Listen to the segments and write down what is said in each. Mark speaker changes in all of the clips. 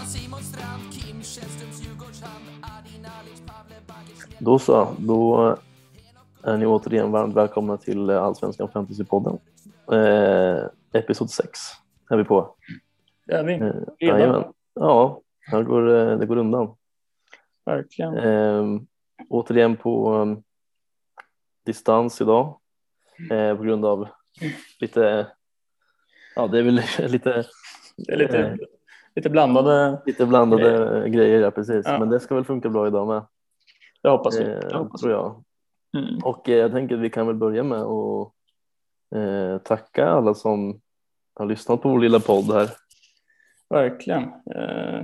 Speaker 1: Wahlstrand, Kim Källströms Djurgårdshamn, Adin Alic, Pavle Bagic,
Speaker 2: Då så, då är ni återigen varmt välkomna till Allsvenskan Fantasypodden. Eh, Episod 6 är vi på.
Speaker 3: Det är vi.
Speaker 2: Eh, jajamän. ja, här går, eh, det går undan.
Speaker 3: Verkligen.
Speaker 2: Eh, återigen på eh, distans idag eh, på grund av lite, ja det är väl lite,
Speaker 3: Det är lite,
Speaker 2: eh,
Speaker 3: lite blandade.
Speaker 2: lite blandade grejer, ja, precis.
Speaker 3: Ja.
Speaker 2: men det ska väl funka bra idag med,
Speaker 3: Jag hoppas vi.
Speaker 2: eh,
Speaker 3: Jag hoppas
Speaker 2: tror
Speaker 3: vi.
Speaker 2: jag.
Speaker 3: Mm.
Speaker 2: Och eh, jag tänker att vi kan väl börja med att eh, tacka alla som har lyssnat på vår lilla podd här.
Speaker 3: Verkligen. Eh,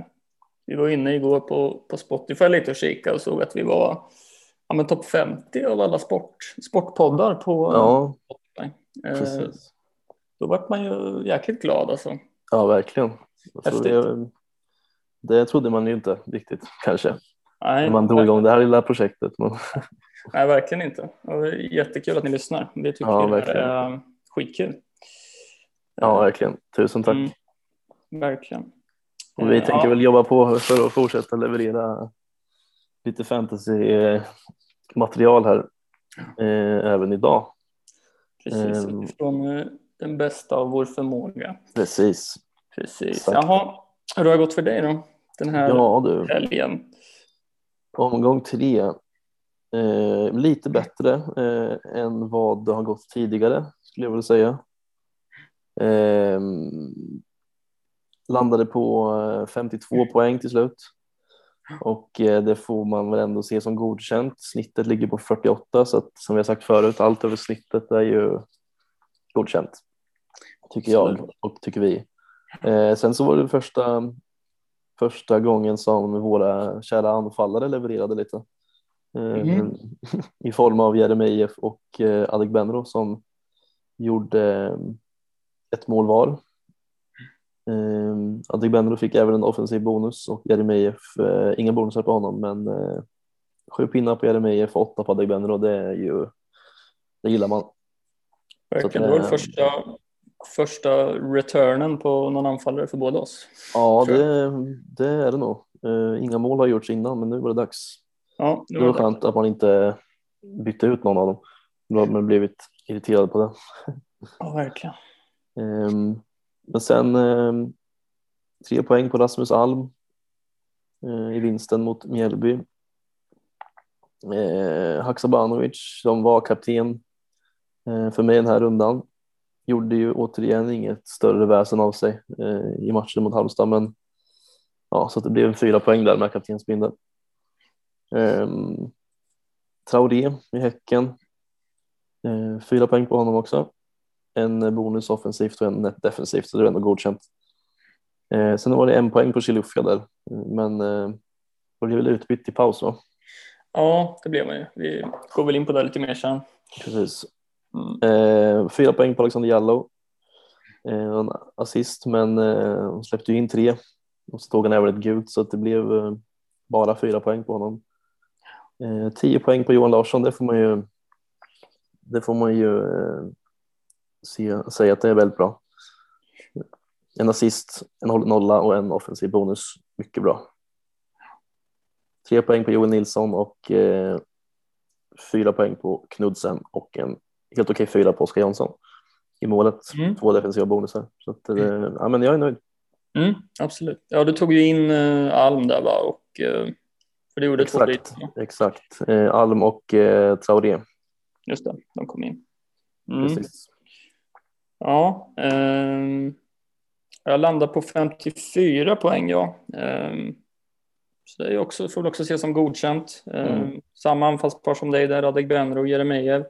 Speaker 3: vi var inne igår på, på Spotify lite och kikade och såg att vi var ja, men topp 50 av alla sport, sportpoddar på
Speaker 2: Ja,
Speaker 3: Spotify. Eh,
Speaker 2: precis.
Speaker 3: då vart man ju jäkligt glad alltså.
Speaker 2: Ja, verkligen. Alltså,
Speaker 3: Häftigt.
Speaker 2: det, det trodde man ju inte riktigt kanske
Speaker 3: Nej,
Speaker 2: när man drog igång det här lilla projektet. Men,
Speaker 3: nej, verkligen inte. Och det är jättekul att ni lyssnar. Vi tycker
Speaker 2: Ja,
Speaker 3: det här
Speaker 2: verkligen.
Speaker 3: är eh, skitkul.
Speaker 2: ja, verkligen. Tusen tack.
Speaker 3: Mm. Verkligen.
Speaker 2: Och vi
Speaker 3: Eh,
Speaker 2: tänker
Speaker 3: ja.
Speaker 2: väl jobba på för att fortsätta leverera lite fantasy-material här eh, även idag.
Speaker 3: Precis,
Speaker 2: Ehm.
Speaker 3: utifrån eh, den bästa av vår förmåga.
Speaker 2: Precis.
Speaker 3: Precis.
Speaker 2: Exakt.
Speaker 3: Jaha, hur har det gått för dig då? Den här
Speaker 2: Ja, du.
Speaker 3: helgen.
Speaker 2: Omgång tre. Eh, lite bättre eh, än vad det har gått tidigare skulle jag vilja säga. Eh, landade på eh, 52 poäng till slut. Och eh, det får man väl ändå se som godkänt. Snittet ligger på 48 så att, som vi har sagt förut, allt över snittet är ju godkänt. Tycker jag och tycker vi. Eh, sen så var det första första gången som våra kära anfallare levererade lite. Eh,
Speaker 3: Mhm.
Speaker 2: I form av Jeremejeff och eh, Adegbenro som gjorde eh, ett mål var. Eh, Adegbenro fick även en offensiv bonus och Jeremejeff, eh, inga bonusar på honom men eh, sju pinnar på Jeremejeff och åtta på Adegbenro det är ju, det gillar man.
Speaker 3: Verkligen.
Speaker 2: det-
Speaker 3: Det var väl första, första returnen på någon anfallare för båda oss.
Speaker 2: Ja
Speaker 3: Tror
Speaker 2: det, det är det nog. Eh, inga mål har gjorts innan men nu var det dags.
Speaker 3: Ja,
Speaker 2: Det var skönt att man inte bytte ut någon av dem. Då hade man blivit irriterad på det.
Speaker 3: Ja, verkligen.
Speaker 2: Ehm, Men sen ehm, tre poäng på Rasmus Alm eh, i vinsten mot Mjällby. Eh, Haksabanovic som var kapten eh, för mig den här rundan gjorde ju återigen inget större väsen av sig eh, i matchen mot Halmstad men ja, så att det blev fyra poäng där med kaptensbindeln. Ehm, Traoré i Häcken. Eh, fyra poäng på honom också en bonus offensivt och en net defensivt, så det är ändå godkänt. Eh, sen var det en poäng på Chilufya där, men eh, det blev väl utbytt i paus va?
Speaker 3: Ja, det blev man ju. Vi går väl in på det lite mer sen.
Speaker 2: Precis.
Speaker 3: Mm.
Speaker 2: Eh, fyra poäng på Alexander Jallow. Eh, och en assist, men eh, hon släppte ju in tre och så tog han även ett gult så att det blev eh, bara fyra poäng på honom. Eh, tio poäng på Johan Larsson, det får man ju, det får man ju eh, se, säga att det är väldigt bra. En assist, en håll- nolla och en offensiv bonus. Mycket bra. Tre poäng på Joel Nilsson och eh, fyra poäng på Knudsen och en helt okej fyra på Oskar Jansson i målet.
Speaker 3: Mm.
Speaker 2: Två defensiva bonusar. Så att, eh, ja, men jag är nöjd.
Speaker 3: Mm, absolut. Ja, du tog ju in eh, Alm där va? Och, eh, för du gjorde två
Speaker 2: Exakt.
Speaker 3: byten.
Speaker 2: Exakt. Eh, Alm och eh, Traoré.
Speaker 3: Mm. Just det, de kom in. Mm.
Speaker 2: Precis.
Speaker 3: Ja, ehm, jag landar på 54 poäng ja. Ehm, så det är ju också, får väl också ses som godkänt. Ehm, Samma anfallspar som dig där, Adegbenro och Jeremejeff,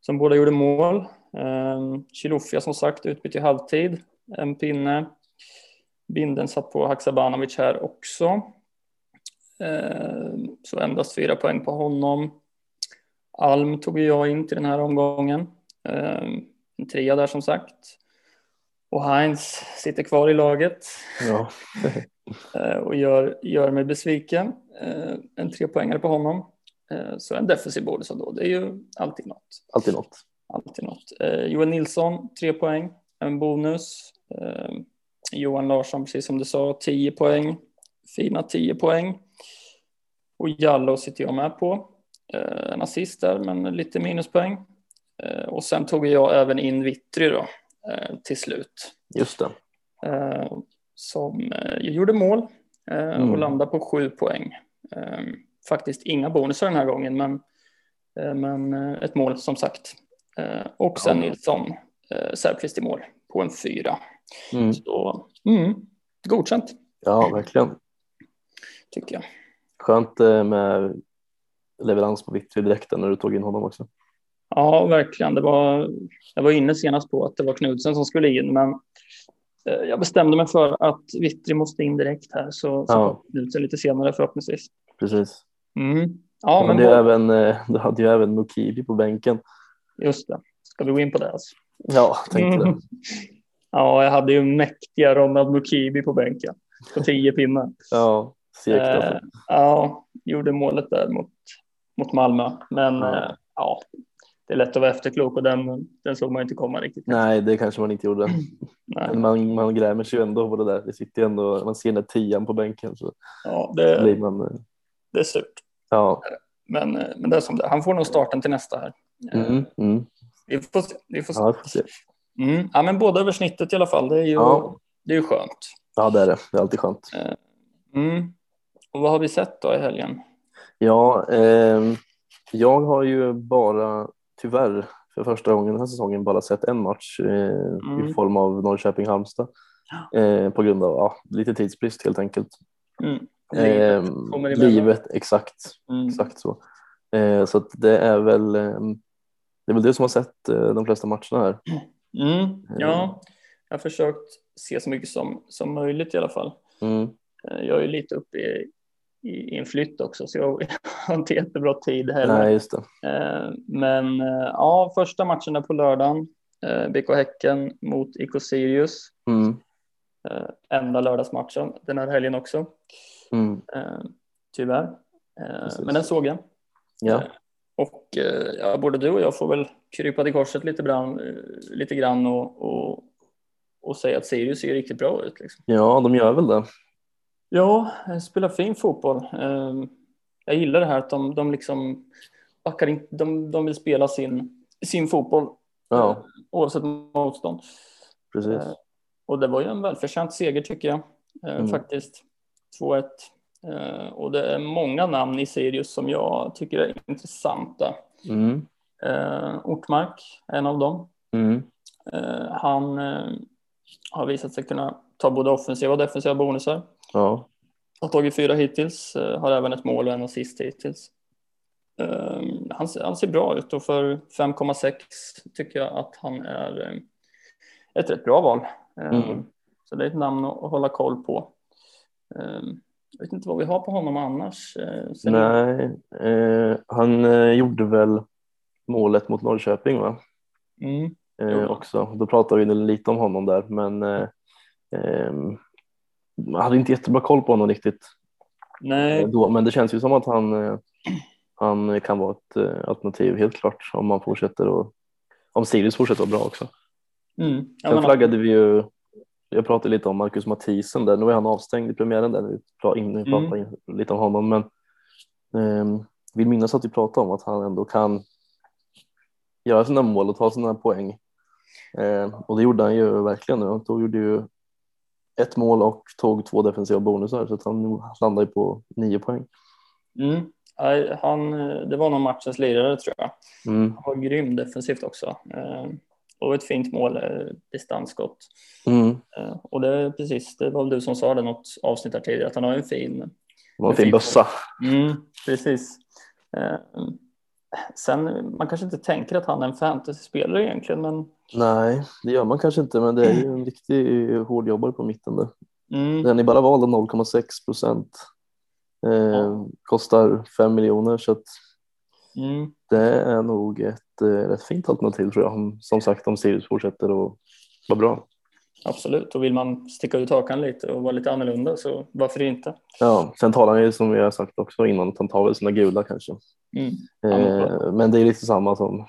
Speaker 3: som båda gjorde mål. Um, Chilufya som sagt utbytt i halvtid, en pinne. Binden satt på Haksabanovic här också. Ehm, så endast fyra poäng på honom. Alm tog ju jag in till den här omgången. Ehm, en trea där som sagt. Och Heinz sitter kvar i laget
Speaker 2: Ja.
Speaker 3: eh, och gör, gör mig besviken. Eh, En trepoängare på honom. Eh, Så en defensiv bonus ändå. Det är ju alltid något.
Speaker 2: Alltid något.
Speaker 3: Alltid något. Eh, Johan Nilsson, tre poäng. En bonus. Eh, Johan Larsson, precis som du sa, 10 poäng. fina 10 poäng. Och Jallow sitter jag med på. Eh, en assist där, men lite minuspoäng. Eh, och sen tog jag även in Vittry då, eh, till slut.
Speaker 2: Just det.
Speaker 3: Eh, som eh, gjorde mål eh,
Speaker 2: Mm.
Speaker 3: och landade på sju poäng. Eh, faktiskt inga bonusar den här gången, men, eh, men eh, ett mål som sagt. Eh, och sen
Speaker 2: Ja.
Speaker 3: Nilsson eh, Säfqvist i mål på en fyra.
Speaker 2: Mm.
Speaker 3: Så, mm, godkänt
Speaker 2: Ja, verkligen.
Speaker 3: tycker jag.
Speaker 2: Skönt eh, med leverans på Vittry direkt när du tog in honom också.
Speaker 3: Ja, verkligen. Det var, jag var inne senast på att det var Knudsen som skulle in, men eh, jag bestämde mig för att Vittri måste in direkt här, så, så
Speaker 2: Ja.
Speaker 3: kommer Knudsen lite senare förhoppningsvis.
Speaker 2: Precis.
Speaker 3: Mm. Ja,
Speaker 2: Du
Speaker 3: men
Speaker 2: hade, ju
Speaker 3: vad-
Speaker 2: även, eh, du hade ju även Mukibi på bänken.
Speaker 3: Just det. Ska vi gå in på det? Alltså?
Speaker 2: Ja, tänkte det.
Speaker 3: Mm. Ja, jag hade ju mäktiga Ronald Mukibi på bänken på 10 pinnar.
Speaker 2: Ja, segt
Speaker 3: Eh,
Speaker 2: alltså.
Speaker 3: ja, gjorde målet där mot, mot Malmö. Men
Speaker 2: Ja.
Speaker 3: eh, ja, det är lätt att vara efterklok och den, den såg man inte komma riktigt.
Speaker 2: Nej, det kanske man inte gjorde.
Speaker 3: Nej.
Speaker 2: Men man, man grämer sig ju ändå på det där. Det sitter ju ändå, man ser den där tian på bänken så
Speaker 3: Ja, det,
Speaker 2: blir man... eh,
Speaker 3: det är surt.
Speaker 2: Ja.
Speaker 3: Men, eh, men det är som det. är. Han får nog starten till nästa här. Eh,
Speaker 2: Mm, mm.
Speaker 3: Vi får se. Vi får se.
Speaker 2: Ja, vi får se.
Speaker 3: Mm. Ja, men båda över snittet i alla fall. Det är ju,
Speaker 2: Ja.
Speaker 3: det är ju skönt.
Speaker 2: Ja, det är det. Det är alltid skönt.
Speaker 3: Mm. Och vad har vi sett då i helgen?
Speaker 2: Ja, ehm, jag har ju bara, tyvärr, för första gången den här säsongen bara sett en match eh,
Speaker 3: Mm.
Speaker 2: i form av Norrköping-Halmstad. Eh, på grund av ja, lite tidsbrist helt enkelt.
Speaker 3: Mm.
Speaker 2: Ehm,
Speaker 3: kommer emellan.
Speaker 2: livet, exakt.
Speaker 3: Mm.
Speaker 2: Exakt så. Eh, så att det är väl ehm, det är väl du som har sett eh, de flesta matcherna här.
Speaker 3: Mm, ja,
Speaker 2: Eh.
Speaker 3: jag har försökt se så mycket som, som möjligt i alla fall.
Speaker 2: Mm.
Speaker 3: Eh, Jag är ju lite uppe i, i, i en flytt också, så jag har inte jättebra tid heller.
Speaker 2: Nej, just det.
Speaker 3: Eh, Men eh, ja, första matchen är på lördagen. Eh, BK Häcken mot IK Sirius.
Speaker 2: Mm.
Speaker 3: Eh, Enda lördagsmatchen den här helgen också,
Speaker 2: Mm.
Speaker 3: eh, tyvärr. Eh,
Speaker 2: Precis.
Speaker 3: Men den såg jag.
Speaker 2: Ja.
Speaker 3: Och eh, ja, både du och jag får väl krypa till korset lite, brann, eh, lite grann och, och, och säga att Sirius ser riktigt bra ut. Liksom.
Speaker 2: ja, de gör väl det.
Speaker 3: Ja, eh, spelar fin fotboll. Eh, Jag gillar det här att de, de liksom backar in, de, de vill spela sin, sin fotboll eh,
Speaker 2: Ja,
Speaker 3: oavsett motstånd.
Speaker 2: precis.
Speaker 3: Eh, Och det var ju en välförtjänt seger tycker jag eh,
Speaker 2: Mm.
Speaker 3: faktiskt. 2-1. Eh, Och det är många namn i Sirius som jag tycker är intressanta.
Speaker 2: Mm.
Speaker 3: Eh, Ortmark är en av dem.
Speaker 2: Mm.
Speaker 3: Eh, han eh, har visat sig kunna ta både offensiva och defensiva bonusar.
Speaker 2: Ja.
Speaker 3: Har tagit fyra hittills, eh, har även ett mål och en assist hittills. Eh, han, ser- han ser bra ut och för 5,6 tycker jag att han är eh, ett rätt bra val. Eh,
Speaker 2: Mm.
Speaker 3: Så det är ett namn att att hålla koll på. Eh, jag vet inte vad vi har på honom annars. Eh, sen-
Speaker 2: Nej, eh, han eh, gjorde väl målet mot Norrköping va?
Speaker 3: Mm.
Speaker 2: Eh,
Speaker 3: Jo.
Speaker 2: också. Då pratade vi lite om honom där, men eh, ehm, man hade inte jättebra koll på honom riktigt
Speaker 3: Nej.
Speaker 2: eh, då. Men det känns ju som att han, eh, han kan vara ett eh, alternativ helt klart om man fortsätter och om Sirius fortsätter vara bra också.
Speaker 3: Mm. Ja,
Speaker 2: Sen
Speaker 3: men-
Speaker 2: flaggade vi ju, jag pratade lite om Marcus Mathisen där, nu är han avstängd i premiären där, vi pra- in-
Speaker 3: Mm.
Speaker 2: vi pratade in, lite om honom, men ehm, vill minnas att vi pratade om att han ändå kan göra sina mål och ta sina poäng. Ehm, och det gjorde han ju verkligen nu, han tog, gjorde ju ett mål och tog två defensiva bonusar så att han landade ju på nio poäng.
Speaker 3: Mm. Nej, Han, eh, det var någon matchens lirare tror jag.
Speaker 2: Mm.
Speaker 3: Han var grym defensivt också. Eh, Och ett fint mål, eh, distansskott.
Speaker 2: Mm.
Speaker 3: Eh, Och det är precis, det var väl du som sa det något avsnitt här tidigare, att han har ju en fin...
Speaker 2: Det var en fin bössa.
Speaker 3: Mm, precis. Eh, Sen, man kanske inte tänker att han är en fantasyspelare egentligen, men...
Speaker 2: Nej, det gör man kanske inte, men det är ju en riktig hårdjobbare på mitten där.
Speaker 3: Mm,
Speaker 2: Den är bara vald av 0,6 procent. Eh,
Speaker 3: Ja.
Speaker 2: Kostar 5 miljoner så att
Speaker 3: mm,
Speaker 2: det är nog ett eh, rätt fint alternativ tror jag. Om- Som sagt om Sirius fortsätter att vara bra.
Speaker 3: absolut, och vill man sticka ut hakan lite och vara lite annorlunda så varför inte?
Speaker 2: Ja, sen talar han ju som vi har sagt också innan att han tar väl sina gula kanske.
Speaker 3: Mm. Ja, men
Speaker 2: Eh, men det är lite samma som eh,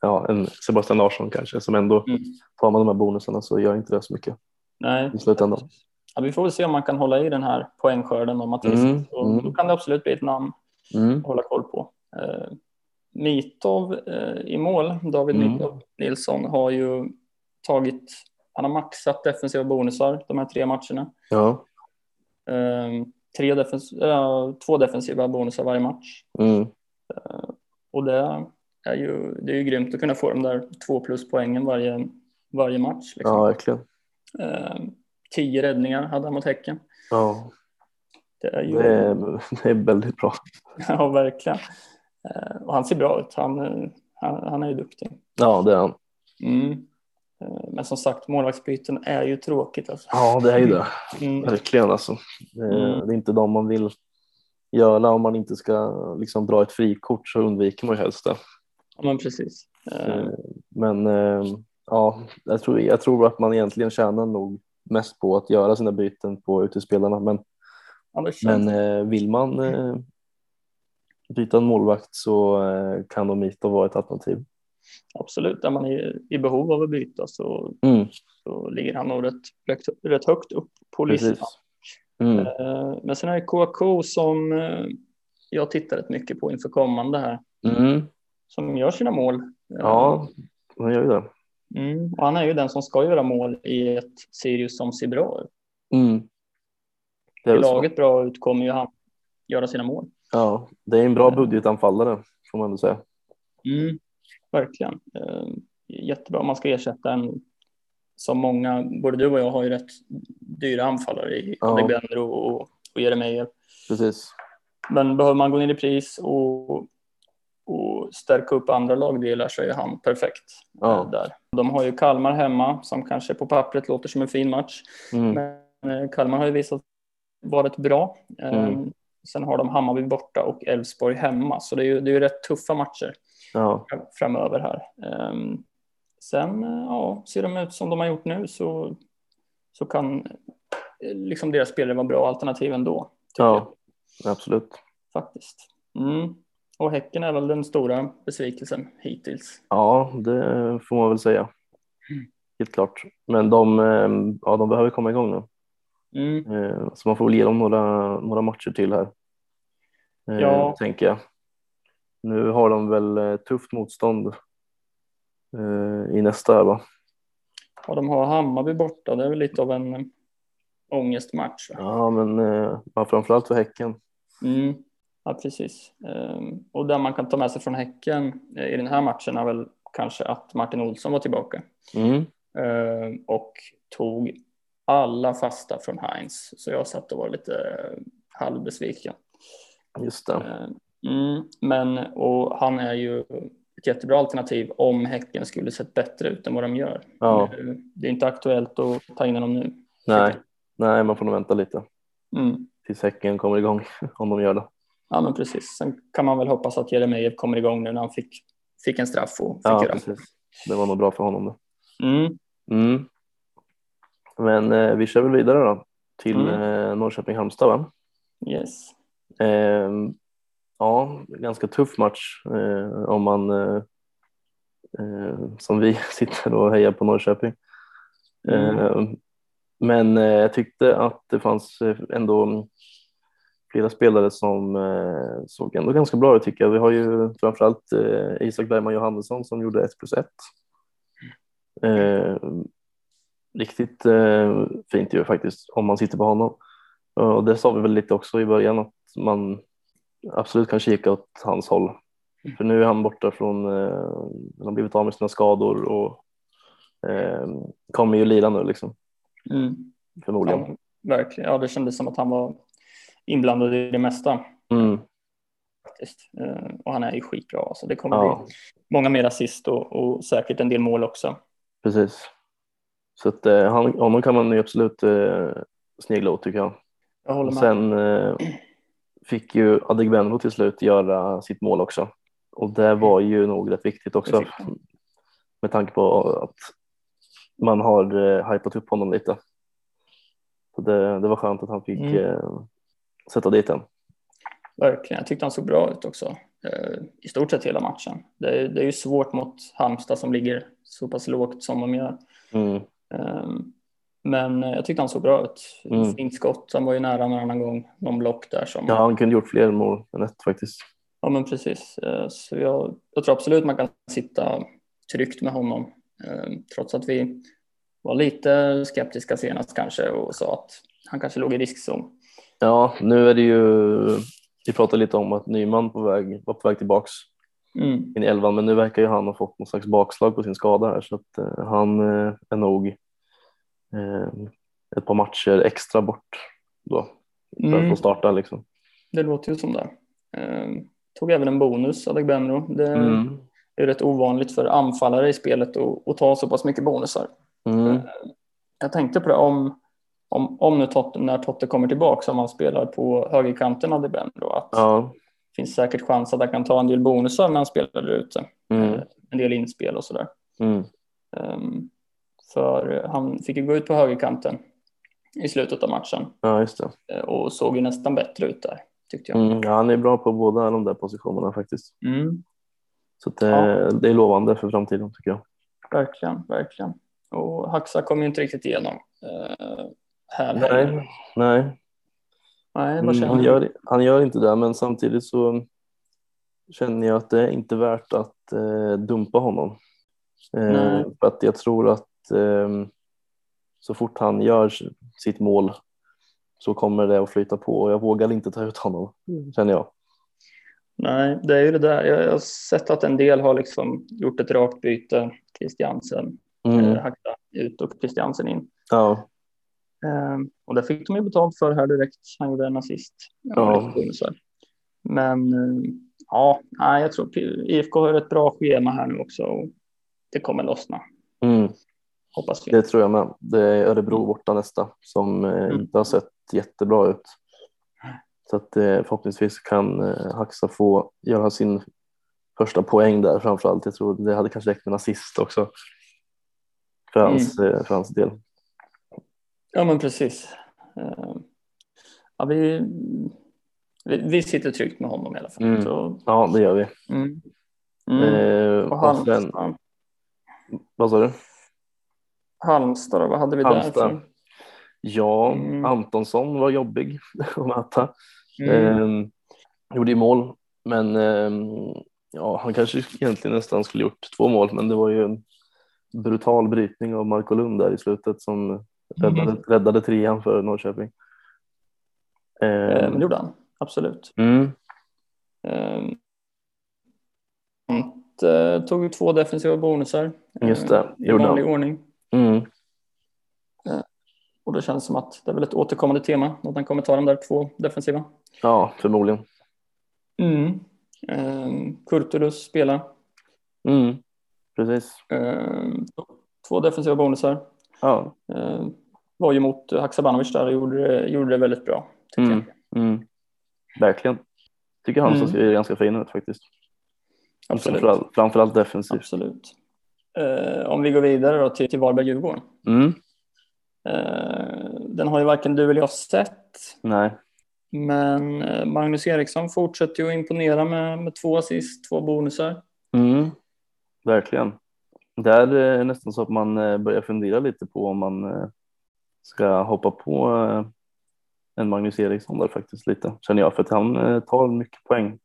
Speaker 2: ja, en Sebastian Larsson kanske som ändå
Speaker 3: Mm.
Speaker 2: tar man de här bonusarna så gör inte det så mycket
Speaker 3: Nej,
Speaker 2: i slutändan.
Speaker 3: ja, vi får väl se om man kan hålla i den här poängskörden om Mattias.
Speaker 2: Mm,
Speaker 3: Och
Speaker 2: mm.
Speaker 3: Då kan det absolut bli ett namn
Speaker 2: Mm.
Speaker 3: att hålla koll på. Eh, Mitov eh, i mål, David
Speaker 2: Mm.
Speaker 3: Mitov Nilsson, har ju tagit, han har maxat defensiva bonusar de här tre matcherna.
Speaker 2: Ja.
Speaker 3: Eh, tre defens eh, två defensiva bonusar varje match.
Speaker 2: Mm.
Speaker 3: Och det är ju, det är ju grymt att kunna få de där två plus poängen varje, varje match. Liksom.
Speaker 2: ja, verkligen.
Speaker 3: Eh, tio räddningar hade han mot Häcken.
Speaker 2: Ja.
Speaker 3: Det är ju,
Speaker 2: Det är, det är väldigt bra.
Speaker 3: ja verkligen. Eh, och han ser bra ut, han, eh, han, han är ju duktig.
Speaker 2: Ja, det är han.
Speaker 3: Mm. Eh, Men som sagt, målvaktsbyten är ju tråkigt. Alltså.
Speaker 2: Ja, det är ju det.
Speaker 3: Mm.
Speaker 2: Verkligen alltså. Eh,
Speaker 3: Mm.
Speaker 2: Det är inte de man vill göra om man inte ska liksom, dra ett frikort så undviker man ju helst det.
Speaker 3: Ja, men precis. Eh,
Speaker 2: Eh, Men eh, ja, jag tror, jag tror att man egentligen tjänar nog mest på att göra sina byten på utespelarna. Men,
Speaker 3: ja, det känns-
Speaker 2: men eh, vill man eh, byta en målvakt så eh, kan de inte vara ett alternativ.
Speaker 3: Absolut, när man är i behov av att byta så,
Speaker 2: Mm,
Speaker 3: så ligger han nog rätt, rätt, rätt högt upp på listan.
Speaker 2: precis. Mm,
Speaker 3: Eh, Men sen är det KK som eh, jag tittar rätt mycket på inför kommande här.
Speaker 2: mm,
Speaker 3: Som gör sina mål. Eh,
Speaker 2: ja, man gör ju det.
Speaker 3: Mm. Och han är ju den som ska göra mål i ett Sirius som ser bra ut.
Speaker 2: Mm. Det är
Speaker 3: Ser
Speaker 2: väl så.
Speaker 3: laget bra ut kommer ju han göra sina mål.
Speaker 2: Ja, det är en bra budgetanfallare får man ändå säga.
Speaker 3: Mm, verkligen. Eh, jättebra om man ska ersätta en som många, både du och jag har ju rätt dyra anfallare i
Speaker 2: Ja.
Speaker 3: Alexander och, och, och Jeremejeff.
Speaker 2: Precis.
Speaker 3: Men behöver man gå ner i pris och, och stärka upp andra lagdelar så är han perfekt
Speaker 2: Ja.
Speaker 3: eh, där. De har ju Kalmar hemma som kanske på pappret låter som en fin match.
Speaker 2: Mm.
Speaker 3: Men eh, Kalmar har ju visat varit bra. Eh,
Speaker 2: Mm.
Speaker 3: Sen har de Hammarby borta och Elfsborg hemma, så det är ju, det är ju rätt tuffa matcher
Speaker 2: Ja,
Speaker 3: fram- framöver här. Ehm, sen eh, ja, ser de ut som de har gjort nu så, så kan eh, liksom deras spelare vara bra alternativ ändå. tycker
Speaker 2: ja, absolut.
Speaker 3: Jag, faktiskt. Mm. Och Häcken är väl den stora besvikelsen hittills.
Speaker 2: Ja, det får man väl säga. Helt klart. Men de, eh, ja, de behöver komma igång nu.
Speaker 3: Mm.
Speaker 2: Eh, Så man får väl ge dem några, några matcher till här. Eh,
Speaker 3: Ja.
Speaker 2: Tänker jag. Nu har de väl eh, tufft motstånd eh, i nästa här va?
Speaker 3: Och de har Hammarby borta, det är väl lite av en eh, ångestmatch. va?
Speaker 2: Ja, men eh, men framförallt för Häcken.
Speaker 3: Mm. Ja, precis. Ehm, och där man kan ta med sig från Häcken eh, i den här matchen är väl kanske att Martin Olsson var tillbaka.
Speaker 2: Mm.
Speaker 3: Eh, och tog alla fasta från Heinz. Så jag satt och var lite eh, halvbesviken.
Speaker 2: Just det.
Speaker 3: Eh, Mm, men och han är ju ett jättebra alternativ om Häcken skulle sett bättre ut än vad de gör.
Speaker 2: Ja.
Speaker 3: Eh, Det är inte aktuellt att ta in honom nu.
Speaker 2: Nej. Nej, man får nog vänta lite
Speaker 3: Mm.
Speaker 2: tills Häcken kommer igång om de gör det.
Speaker 3: Ja, men precis. Sen kan man väl hoppas att Jeremejeff kommer igång nu när han fick, fick en straff och fick
Speaker 2: Ja,
Speaker 3: göra
Speaker 2: precis. Det var nog bra för honom. Då.
Speaker 3: Mm.
Speaker 2: Mm. Men eh, vi kör väl vidare då till
Speaker 3: Mm.
Speaker 2: eh, Norrköping-Halmstad. va?
Speaker 3: Yes.
Speaker 2: Eh, ja, ganska tuff match eh, om man eh, eh, som vi sitter och hejar på Norrköping.
Speaker 3: Mm.
Speaker 2: Eh, men eh, jag tyckte att det fanns eh, ändå flera spelare som eh, såg ändå ganska bra ut tycker jag. Vi har ju framförallt eh, Isak Bergman Johannesson som gjorde 1 plus 1. Eh, riktigt eh, fint ju faktiskt om man sitter på honom. Eh, Och det sa vi väl lite också i början att man absolut kan kika åt hans håll. För nu är han borta från, eh, han har blivit av med sina skador och eh, kommer ju lira nu liksom
Speaker 3: Mm.
Speaker 2: förmodligen.
Speaker 3: Ja, verkligen. Ja, det kändes som att han var inblandad i det mesta.
Speaker 2: Mm,
Speaker 3: faktiskt. Eh, Och han är ju skitbra. Alltså det kommer
Speaker 2: ja,
Speaker 3: bli många mer assist och, och säkert en del mål också.
Speaker 2: precis. Så att, eh, han, honom kan man ju absolut eh, snegla åt tycker jag.
Speaker 3: Jag håller
Speaker 2: Och
Speaker 3: med.
Speaker 2: sen eh, fick ju Adegbenro till slut göra sitt mål också. Och det var ju nog rätt viktigt
Speaker 3: Mm. Det
Speaker 2: också
Speaker 3: fick han.
Speaker 2: med tanke på att man har eh, hypat upp honom lite. Så det, det var skönt att han fick
Speaker 3: Mm.
Speaker 2: eh, sätta dit den.
Speaker 3: Verkligen. Jag tyckte han såg bra ut också. eh, I stort sett hela matchen. Det är, det är ju svårt mot Halmstad som ligger så pass lågt som de gör.
Speaker 2: Mm.
Speaker 3: Eh, Men eh, jag tyckte han såg bra ut.
Speaker 2: Mm.
Speaker 3: Fint skott. Han var ju nära någon annan gång. Någon block där som...
Speaker 2: Ja, han kunde gjort fler mål än ett faktiskt.
Speaker 3: Ja, men precis. Eh, Så jag, jag tror absolut man kan sitta tryggt med honom. Eh, Trots att vi var lite skeptiska senast kanske och sa att han kanske låg i riskzon.
Speaker 2: Ja, nu är det ju... Vi pratade lite om att Nyman på väg, var på väg tillbaks
Speaker 3: Mm.
Speaker 2: in i elvan, men nu verkar ju han ha fått någon slags bakslag på sin skada här, så att eh, han eh, är nog eh, ett par matcher extra bort då, för
Speaker 3: Mm.
Speaker 2: att få starta liksom.
Speaker 3: Det låter ju som det. Eh, Tog även en bonus, Adegbenro. Det
Speaker 2: Mm.
Speaker 3: är rätt ovanligt för anfallare i spelet att, att ta så pass mycket bonusar.
Speaker 2: Mm.
Speaker 3: Jag tänkte på det om, om, om nu Totte, när Totte kommer tillbaka som han spelar på högerkanten Adegbenro. Att
Speaker 2: Ja.
Speaker 3: Det finns säkert chans att han kan ta en del bonusar när han spelar där ute.
Speaker 2: Mm.
Speaker 3: Eh, En del inspel och sådär.
Speaker 2: Mm.
Speaker 3: Ehm, För han fick ju gå ut på högerkanten i slutet av matchen
Speaker 2: ja, just det.
Speaker 3: eh, och såg ju nästan bättre ut där tyckte jag.
Speaker 2: Mm. Ja, han är bra på båda de där positionerna faktiskt.
Speaker 3: Mm,
Speaker 2: Så att, eh,
Speaker 3: Ja.
Speaker 2: det är lovande för framtiden tycker jag.
Speaker 3: verkligen, verkligen. Och Haxa kom ju inte riktigt igenom eh, här heller.
Speaker 2: Nej, nej.
Speaker 3: Nej, vad
Speaker 2: Mm,
Speaker 3: känner
Speaker 2: han,
Speaker 3: du?
Speaker 2: gör, han gör inte det, men samtidigt så känner jag att det är inte värt att eh, dumpa honom. Eh,
Speaker 3: Nej.
Speaker 2: för att jag tror att eh, så fort han gör sitt mål så kommer det att flyta på och jag vågar inte ta ut honom,
Speaker 3: Mm.
Speaker 2: känner jag.
Speaker 3: Nej, det är ju det där. Jag jag har sett att en del har liksom gjort ett rakt byte. Christiansen,
Speaker 2: Mm.
Speaker 3: eh, Haxa ut och Christiansen in.
Speaker 2: Ja,
Speaker 3: Ehm, och det fick de ju betalt för här direkt. Han gjorde en assist.
Speaker 2: Ja.
Speaker 3: Och lite bonusar. Men ehm, ja, nej, jag tror P- IFK har ett bra schema här nu också. Och det kommer lossna,
Speaker 2: mm,
Speaker 3: hoppas vi.
Speaker 2: det tror jag med. Det är Örebro borta nästa som eh,
Speaker 3: Mm.
Speaker 2: inte har sett jättebra ut. Så att, eh, förhoppningsvis kan eh, Haxa få göra sin första poäng där framförallt. Jag tror det hade kanske räckt med en assist också för
Speaker 3: Mm.
Speaker 2: hans, eh, för hans del.
Speaker 3: Ja, men precis. Ehm, ja, vi, vi, vi sitter tryggt med honom i alla fall.
Speaker 2: Mm.
Speaker 3: Så,
Speaker 2: Ja, det gör vi.
Speaker 3: mm. Mm.
Speaker 2: Eh,
Speaker 3: och
Speaker 2: och sen,
Speaker 3: Halmstad,
Speaker 2: vad sa du?
Speaker 3: Halmstad då, vad hade vi där?
Speaker 2: Halmstad.
Speaker 3: för-
Speaker 2: Ja,
Speaker 3: Mm.
Speaker 2: Antonsson var jobbig att möta.
Speaker 3: Mm.
Speaker 2: Eh, gjorde ju mål, men ehm, ja, han kanske egentligen nästan skulle gjort två mål, men det var ju en brutal brytning av Marko Lund där i slutet som räddade, räddade trean för Norrköping.
Speaker 3: Ehm, men
Speaker 2: Ehm,
Speaker 3: det gjorde han, absolut.
Speaker 2: mm,
Speaker 3: Ehm, Ant, eh, tog ju två defensiva bonusar. eh,
Speaker 2: mm, just det,
Speaker 3: I
Speaker 2: Ehm, gjorde
Speaker 3: vanlig
Speaker 2: han.
Speaker 3: ordning.
Speaker 2: Mm,
Speaker 3: Och det känns som att det är väl ett återkommande tema. Att han kommer ta de där två defensiva.
Speaker 2: ja, förmodligen.
Speaker 3: Mm. Ehm, Kurtulus spelar.
Speaker 2: Mm, precis.
Speaker 3: Ehm, två defensiva bonusar.
Speaker 2: Ja.
Speaker 3: Ehm, var ju mot Haksabanovic där och gjorde, det- gjorde det väldigt bra. Tycker
Speaker 2: Mm.
Speaker 3: jag.
Speaker 2: Mm, verkligen. Tycker han
Speaker 3: Mm.
Speaker 2: ser ganska fin ut faktiskt.
Speaker 3: Absolut.
Speaker 2: Framförallt, framförallt defensivt.
Speaker 3: Absolut. Ehm, om vi går vidare då till, till Varberg-Djurgården.
Speaker 2: Mm,
Speaker 3: Ehm, den har ju varken du eller jag sett.
Speaker 2: nej.
Speaker 3: Men eh, Magnus Eriksson fortsätter ju att imponera med, med två assist, två bonusar.
Speaker 2: Mm, verkligen. Där eh, är det nästan så att man eh, börjar fundera lite på om man eh, ska hoppa på eh, en Magnus Eriksson där faktiskt lite, känner jag. För att han eh, tar mycket poäng.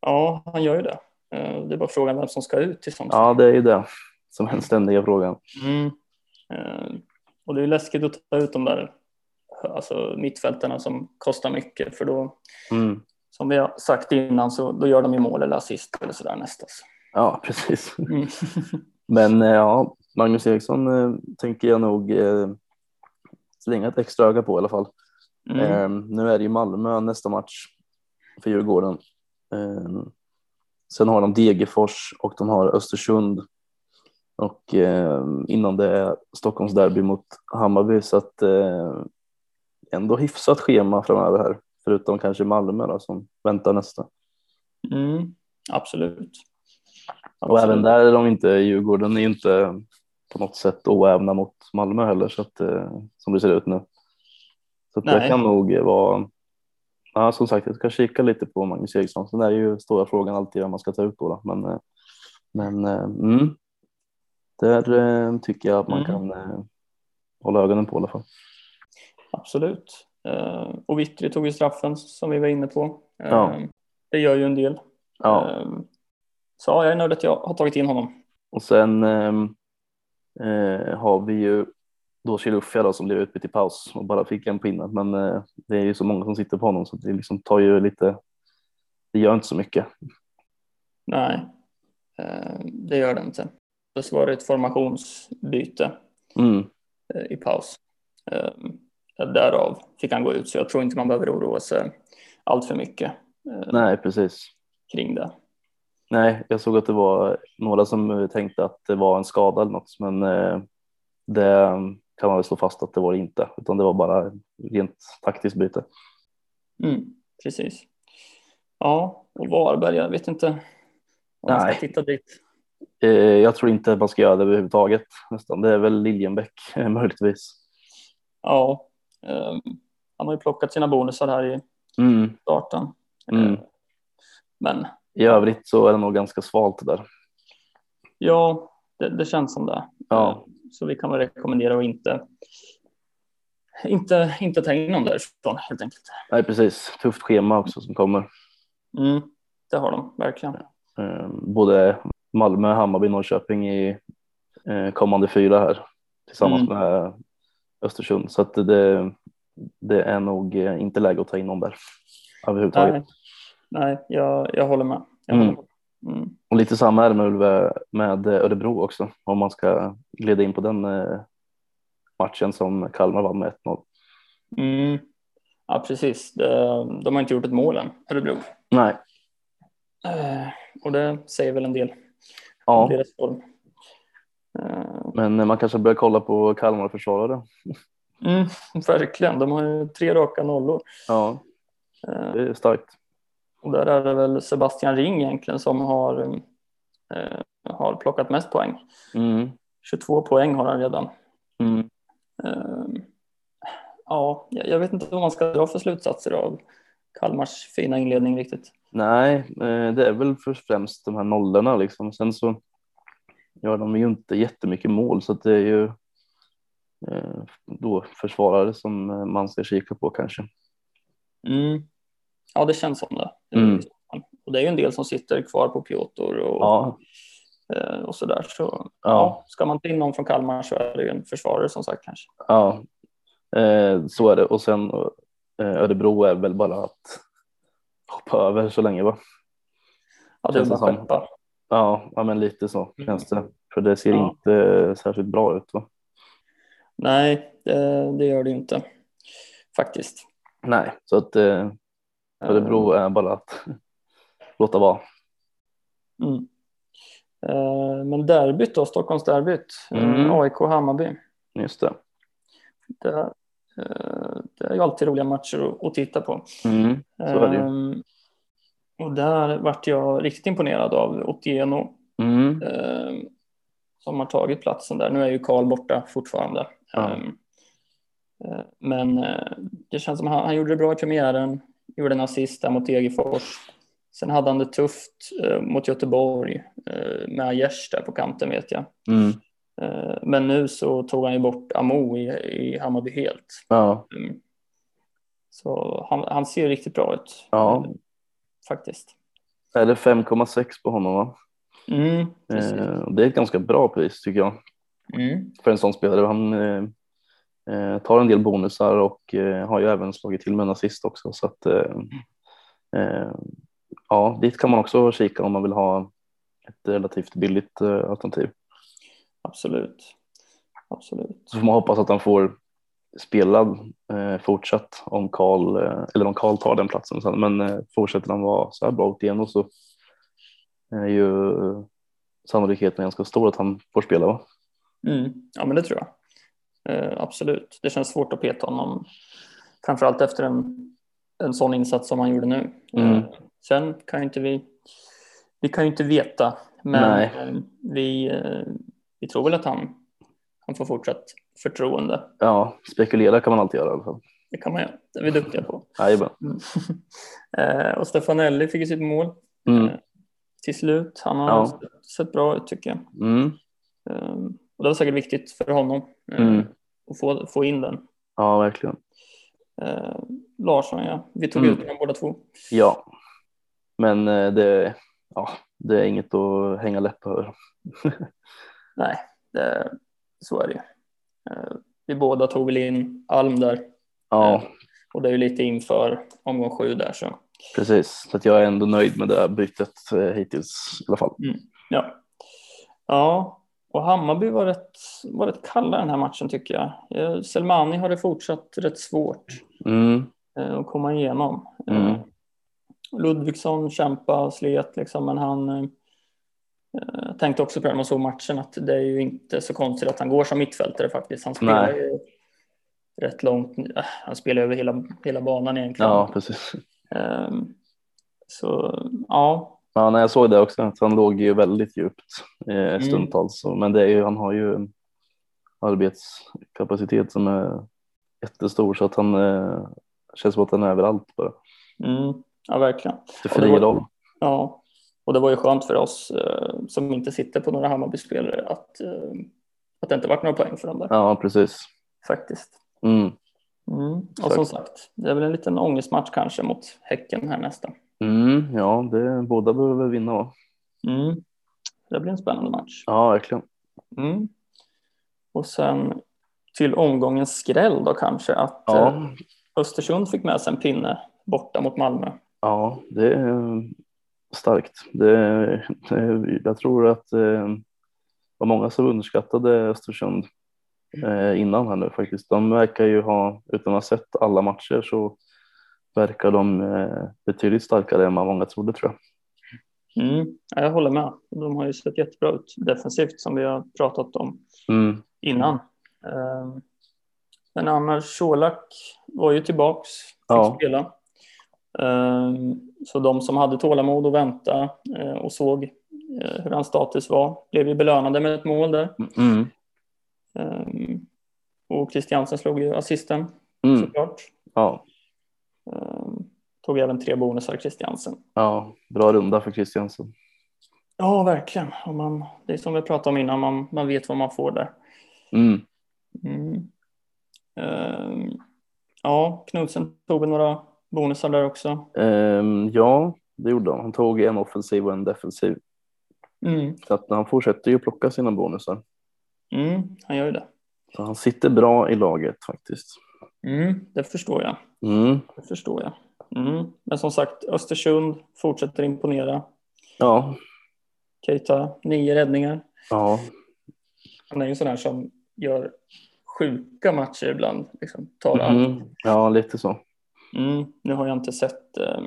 Speaker 3: Ja, han gör ju det. Eh, Det är bara frågan vem som ska ut i sånt
Speaker 2: Ja, det är ju det som är den ständiga frågan.
Speaker 3: Mm. Eh, Och det är ju läskigt att ta ut de där alltså mittfältarna som kostar mycket. För då,
Speaker 2: Mm.
Speaker 3: som vi har sagt innan, så då gör de ju mål eller assist eller sådär nästas.
Speaker 2: Ja, precis.
Speaker 3: Mm.
Speaker 2: Men eh, ja, Magnus Eriksson eh, tänker jag nog eh, slänga ett extra öga på i alla fall.
Speaker 3: Mm.
Speaker 2: Eh, nu är det ju Malmö nästa match för Djurgården. Eh, sen har de Degerfors och de har Östersund. Och eh, innan det är Stockholms derby mot Hammarby. Så att eh, ändå hyfsat schema framöver här. Förutom kanske Malmö då, som väntar nästa.
Speaker 3: Mm. Absolut.
Speaker 2: Och även där är de inte, Djurgården är ju inte på något sätt oävna mot Malmö heller så att, eh, som det ser ut nu. Så att det
Speaker 3: Nej.
Speaker 2: kan nog vara, ja, som sagt jag ska kika lite på Magnus Eriksson. Sen är det ju stora frågan alltid vem man ska ta ut då. då. Men, eh, men eh, mm, där eh, tycker jag att man
Speaker 3: Mm.
Speaker 2: kan eh, hålla ögonen på i alla fall.
Speaker 3: Absolut. Eh, och Vittry tog ju straffen som vi var inne på. Eh,
Speaker 2: Ja.
Speaker 3: Det gör ju en del.
Speaker 2: Ja.
Speaker 3: Eh, så ja, jag är nöjd att jag har tagit in honom.
Speaker 2: Och sen ehm, eh, har vi ju då Chilufya då som blev utbytt i paus och bara fick en pinne. Men eh, det är ju så många som sitter på honom så det liksom tar ju lite, det gör inte så mycket.
Speaker 3: Nej, eh, det gör det inte. Det var det ett formationsbyte
Speaker 2: Mm.
Speaker 3: eh, i paus. Eh, därav fick han gå ut, så jag tror inte man behöver oroa sig allt för mycket eh,
Speaker 2: Nej, precis.
Speaker 3: kring det.
Speaker 2: Nej, jag såg att det var några som eh, tänkte att det var en skada eller något, men eh, det kan man väl slå fast att det var det inte, utan det var bara rent taktiskt byte.
Speaker 3: Mm, precis. Ja, och Varberg, jag vet inte om man
Speaker 2: Nej.
Speaker 3: ska titta dit.
Speaker 2: Eh, jag tror inte att man ska göra det överhuvudtaget nästan. Det är väl Liljenbäck eh, möjligtvis.
Speaker 3: Ja, ehm, han har ju plockat sina bonusar här i
Speaker 2: Mm.
Speaker 3: starten.
Speaker 2: Mm.
Speaker 3: Eh, Men
Speaker 2: I övrigt så är det nog ganska svalt det där.
Speaker 3: ja, det, det känns som det.
Speaker 2: Ja.
Speaker 3: Eh, Så vi kan väl rekommendera att inte, inte, inte ta in någon därifrån helt enkelt.
Speaker 2: Nej, precis. Tufft schema också som kommer.
Speaker 3: Mm, det har de verkligen.
Speaker 2: Eh, både Malmö, Hammarby, Norrköping i eh, kommande fyra här tillsammans
Speaker 3: Mm.
Speaker 2: med Östersund. Så att det, det är nog eh, inte läge att ta in någon där överhuvudtaget.
Speaker 3: Nej, nej jag, jag håller med. Jag
Speaker 2: Mm.
Speaker 3: håller med. Mm.
Speaker 2: Och lite samma är det med, Ulve- med Örebro också om man ska glida in på den eh, matchen som Kalmar vann med 1-0.
Speaker 3: Mm. Ja, precis. De, de har inte gjort ett mål än, Örebro.
Speaker 2: Nej,
Speaker 3: Eh, Och det säger väl en del om
Speaker 2: ja,
Speaker 3: deras form. Eh,
Speaker 2: men eh, man kanske börjar kolla på Kalmar-försvarare.
Speaker 3: Mm, verkligen, de har ju tre raka nollor.
Speaker 2: Ja,
Speaker 3: Eh,
Speaker 2: det är starkt.
Speaker 3: Och där är det väl Sebastian Ring egentligen som har, eh, har plockat mest poäng.
Speaker 2: Mm.
Speaker 3: 22 poäng har han redan.
Speaker 2: Mm.
Speaker 3: Eh, Ja, jag jag vet inte vad man ska dra för slutsatser av Kalmars fina inledning riktigt.
Speaker 2: Nej, eh, det är väl först främst de här nollorna liksom. Sen så gör de ju inte jättemycket mål så att det är ju eh, då försvarare som eh, man ska kika på kanske.
Speaker 3: Mm. Ja, det känns som det. liksom-
Speaker 2: Mm.
Speaker 3: Och det är ju en del som sitter kvar på Piotr och,
Speaker 2: Ja,
Speaker 3: eh, och sådär. Så
Speaker 2: ja,
Speaker 3: ja, ska man ta in någon från Kalmar så är det ju en försvarare som sagt kanske.
Speaker 2: ja. Eh, så är det. Och sen eh, Örebro är väl bara att hoppa över så länge va?
Speaker 3: Ja, det är
Speaker 2: Känns det
Speaker 3: bara
Speaker 2: som.
Speaker 3: skeppa.
Speaker 2: Ja, ja men lite så
Speaker 3: Mm.
Speaker 2: känns det. För det ser
Speaker 3: Ja.
Speaker 2: inte särskilt bra ut va?
Speaker 3: Nej, det, det gör det ju inte faktiskt.
Speaker 2: Nej, så att eh, Örebro
Speaker 3: Ehm.
Speaker 2: är bara att låta vara.
Speaker 3: Mm. Eh, Men derbyt då, Stockholmsderbyt,
Speaker 2: Mm.
Speaker 3: mm. AIK-Hammarby.
Speaker 2: Just det.
Speaker 3: Det, eh, det är ju alltid roliga matcher att, att titta på.
Speaker 2: Mm. Så är det ju.
Speaker 3: Ehm, Och där vart jag riktigt imponerad av Otieno
Speaker 2: Mm.
Speaker 3: ehm, som har tagit platsen där. Nu är ju Karl borta fortfarande.
Speaker 2: Ja.
Speaker 3: Ehm, eh, Men eh, det känns som han, han gjorde det bra i premiären, gjorde en assist där mot Degerfors. Sen hade han det tufft eh, mot Göteborg eh, med Aiesh där på kanten vet jag.
Speaker 2: Mm.
Speaker 3: Eh, Men nu så tog han ju bort Amo i, i Hammarby helt.
Speaker 2: Ja,
Speaker 3: Mm. Så han, han ser riktigt bra ut.
Speaker 2: Ja.
Speaker 3: eh, Faktiskt.
Speaker 2: är det 5,6 på honom va?
Speaker 3: Mm, precis.
Speaker 2: Eh, det är ett ganska bra pris tycker jag
Speaker 3: Mm.
Speaker 2: för en sån spelare. Han eh, eh, tar en del bonusar och eh, har ju även slagit till med en assist också. Så att, eh, eh, ja, dit kan man också kika om man vill ha ett relativt billigt eh, alternativ.
Speaker 3: Absolut. Absolut.
Speaker 2: Så får man hoppas att han får spela eh, fortsatt om Karl, eh, eller om Karl tar den platsen sen, men eh, fortsätter han vara så här bra åt igen och så är ju eh, sannolikheten ganska stor att han får spela va?
Speaker 3: Mm. Ja, men det tror jag. Eh, absolut. Det känns svårt att peta honom. Framförallt efter en, en sån insats som han gjorde nu.
Speaker 2: Mm.
Speaker 3: Eh, sen kan ju inte vi... Vi kan ju inte veta. Men
Speaker 2: Nej.
Speaker 3: eh, vi, eh, vi tror väl att han, han får fortsatt förtroende.
Speaker 2: Ja, spekulera kan man alltid göra i alla fall.
Speaker 3: Det kan man göra. Det är vi duktiga på.
Speaker 2: Jajamän.
Speaker 3: Mm. Eh, och Stefanelli fick ju sitt mål
Speaker 2: Mm.
Speaker 3: till slut. Han har
Speaker 2: Ja.
Speaker 3: sett bra ut tycker jag. Ehm,
Speaker 2: Mm.
Speaker 3: Eh, och det var säkert viktigt för honom. Eh,
Speaker 2: Mm.
Speaker 3: och få, få in den.
Speaker 2: Ja, verkligen.
Speaker 3: Eh, Larsson, ja. Vi tog
Speaker 2: Mm.
Speaker 3: ut dem båda två.
Speaker 2: Ja, men eh, det, ja, det är inget att hänga läpp över.
Speaker 3: Nej, det, så är det ju. Eh, vi båda tog väl in Alm där.
Speaker 2: Ja,
Speaker 3: Eh, Och det är ju lite inför omgång sju där. Så.
Speaker 2: precis. Så att jag är ändå nöjd med det här bytet eh, hittills i alla fall.
Speaker 3: Ja. ja, och Hammarby var rätt, var rätt kalla den här matchen tycker jag. Eh, Selmani har det fortsatt rätt svårt
Speaker 2: Mm,
Speaker 3: eh, att komma igenom.
Speaker 2: Mm.
Speaker 3: Eh, Ludvigsson kämpade och slet liksom, men han eh, jag tänkte också på det när man såg matchen att det är ju inte så konstigt att han går som mittfältare faktiskt. Han spelar
Speaker 2: Nej.
Speaker 3: ju rätt långt, eh, han spelar över hela, hela banan egentligen.
Speaker 2: ja, precis.
Speaker 3: Eh, så ja,
Speaker 2: Ja, när jag såg det också, att han låg ju väldigt djupt eh, stundtals. Så- Men det är ju, han har ju en arbetskapacitet som är jättestor så att han eh, känns som att han är överallt bara.
Speaker 3: mm, ja verkligen.
Speaker 2: Det
Speaker 3: Ja, det var-
Speaker 2: frier om.
Speaker 3: Ja, och det var ju skönt för oss eh, som inte sitter på några Hammarby-spelare att, eh, att det inte varit några poäng för dem där
Speaker 2: Ja, precis.
Speaker 3: faktiskt.
Speaker 2: Mm.
Speaker 3: Mm. Och som sagt, det är väl en liten ångestmatch kanske mot Häcken här nästa.
Speaker 2: Mm, ja, det, båda behöver vinna va?
Speaker 3: Mm. Det blir en spännande match.
Speaker 2: Ja, verkligen.
Speaker 3: Mm. Och sen till omgångens skräll då kanske att eh,
Speaker 2: Ja,
Speaker 3: Östersund fick med sig en pinne borta mot Malmö.
Speaker 2: ja det är eh, starkt. Det, är- det, är- jag tror att eh, det var många som underskattade Östersund eh, innan här nu faktiskt. De verkar ju ha, utan att ha sett alla matcher så verkar de eh, betydligt starkare än vad många trodde tror jag.
Speaker 3: Mm. Ja, jag håller med. De har ju sett jättebra ut defensivt som vi har pratat om
Speaker 2: Mm,
Speaker 3: innan. Eh, Men annars, Colak var ju tillbaks, fick
Speaker 2: Ja.
Speaker 3: spela. Eh, Så de som hade tålamod och vänta eh, och såg eh, hur hans status var blev ju belönade med ett mål där.
Speaker 2: mm,
Speaker 3: Eh, Och Christiansen slog ju assisten
Speaker 2: mm.
Speaker 3: såklart.
Speaker 2: Ja,
Speaker 3: Eh, Tog även tre bonusar Christiansen.
Speaker 2: ja, bra runda för Christiansen.
Speaker 3: Ja, verkligen. Och man, det är som vi pratade om innan, man, man vet vad man får där.
Speaker 2: Mm,
Speaker 3: Mm. Ehm, ja, Knudsen tog väl några bonusar där också.
Speaker 2: ehm, ja, det gjorde han. Han tog en offensiv och en defensiv.
Speaker 3: Mm.
Speaker 2: Så att han fortsätter ju plocka sina bonusar.
Speaker 3: Mm, han gör ju det.
Speaker 2: Så han sitter bra i laget faktiskt.
Speaker 3: Mm, det förstår jag.
Speaker 2: Mm.
Speaker 3: Det förstår jag. Mm. Men som sagt, Östersund fortsätter imponera.
Speaker 2: Ja,
Speaker 3: Keita, nio räddningar.
Speaker 2: ja,
Speaker 3: Han är ju en sån här som gör sjuka matcher ibland. Liksom, tar allt.
Speaker 2: mm. ja, lite så.
Speaker 3: Mm. Nu har jag inte sett, eh,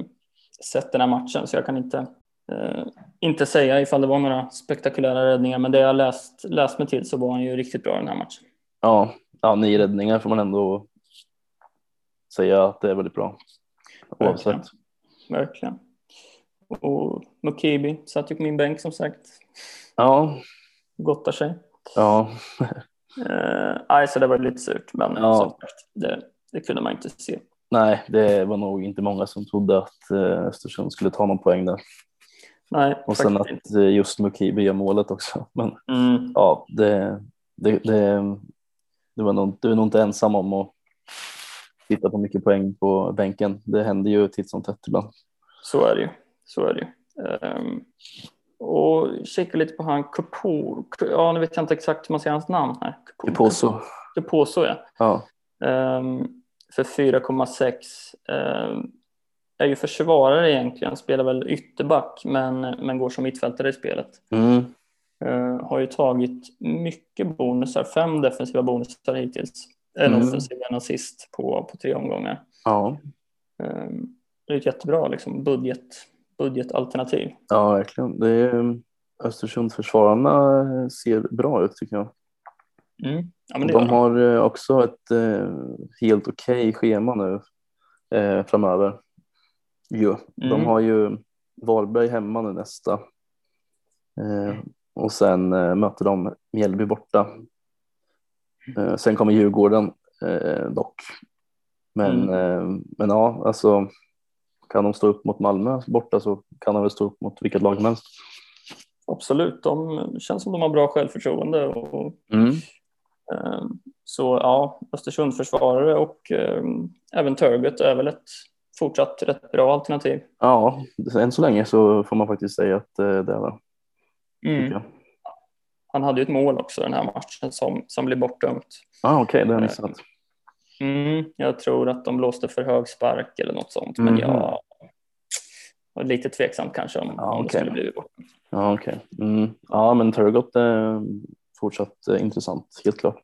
Speaker 3: sett den här matchen så jag kan inte, eh, inte säga ifall det var några spektakulära räddningar. Men det jag läst, läst mig till så var han ju riktigt bra i den här matchen.
Speaker 2: Ja, ja nio räddningar får man ändå säga att det är väldigt bra. Oavsett.
Speaker 3: Verkligen. Och Mukibi satt ju på min bänk som sagt.
Speaker 2: Ja,
Speaker 3: Gottar sig.
Speaker 2: ja,
Speaker 3: Eh, nej, så det var lite surt. Men
Speaker 2: Ja.
Speaker 3: som sagt, det, det kunde man inte se.
Speaker 2: nej, det var nog inte många som trodde att eh, Östersund skulle ta någon poäng där.
Speaker 3: Nej,
Speaker 2: Och
Speaker 3: faktiskt
Speaker 2: sen att
Speaker 3: inte.
Speaker 2: eh, just Mukibi gör målet också. Men
Speaker 3: Mm,
Speaker 2: ja, det, det, det, det var nog, du är nog inte ensam om att titta på mycket poäng på bänken. Det händer ju titt som tätt ibland.
Speaker 3: så är det ju. Så är det ju. Ehm, och kika lite på han Kupo. Ja, nu vet jag inte exakt hur man säger hans namn här. Kupo-
Speaker 2: Kuposo.
Speaker 3: Kuposo, ja.
Speaker 2: Ja.
Speaker 3: Ehm, för 4,6. ehm, är ju försvarare egentligen, spelar väl ytterback men, men går som mittfältare i spelet.
Speaker 2: Mm.
Speaker 3: Eh, har ju tagit mycket bonusar, fem defensiva bonusar hittills. En
Speaker 2: Mm.
Speaker 3: offensiv och en assist på, på tre omgångar.
Speaker 2: Ja.
Speaker 3: Eh, det är ett jättebra liksom, budget, budgetalternativ.
Speaker 2: ja, verkligen. Det är, mm, Östersundsförsvararna ser bra ut tycker jag.
Speaker 3: Mm. Ja, men det gör
Speaker 2: de
Speaker 3: de.
Speaker 2: har eh, också ett eh, helt okej schema nu eh, framöver. Jo. De
Speaker 3: Mm.
Speaker 2: har ju Varberg hemma nu nästa. Eh,
Speaker 3: Mm.
Speaker 2: och sen eh, möter de Mjällby borta. Eh, sen kommer Djurgården eh, dock.
Speaker 3: Mm.
Speaker 2: Men, eh, men ja, alltså kan de stå upp mot Malmö borta så kan de väl stå upp mot vilket lag som helst.
Speaker 3: Mm. Absolut, de det känns som de har bra självförtroende och Ehm, Så ja, Östersund försvarare och ehm, även Turgut är väl ett fortsatt rätt bra alternativ.
Speaker 2: Ja, än så länge så får man faktiskt säga att eh, det är det. tycker
Speaker 3: Mm.
Speaker 2: jag.
Speaker 3: Han hade ju ett mål också den här matchen som, som blev bortdömt.
Speaker 2: Ah, Okej, det har jag missat.
Speaker 3: Mm, jag tror att de blåste för hög spark eller något sånt, men
Speaker 2: Mhm.
Speaker 3: jag var lite tveksam kanske om,
Speaker 2: Ja,
Speaker 3: om det
Speaker 2: okej.
Speaker 3: skulle bli bort.
Speaker 2: Ja, okej. Mm. Ja, men Turgot är fortsatt eh, intressant, helt klart.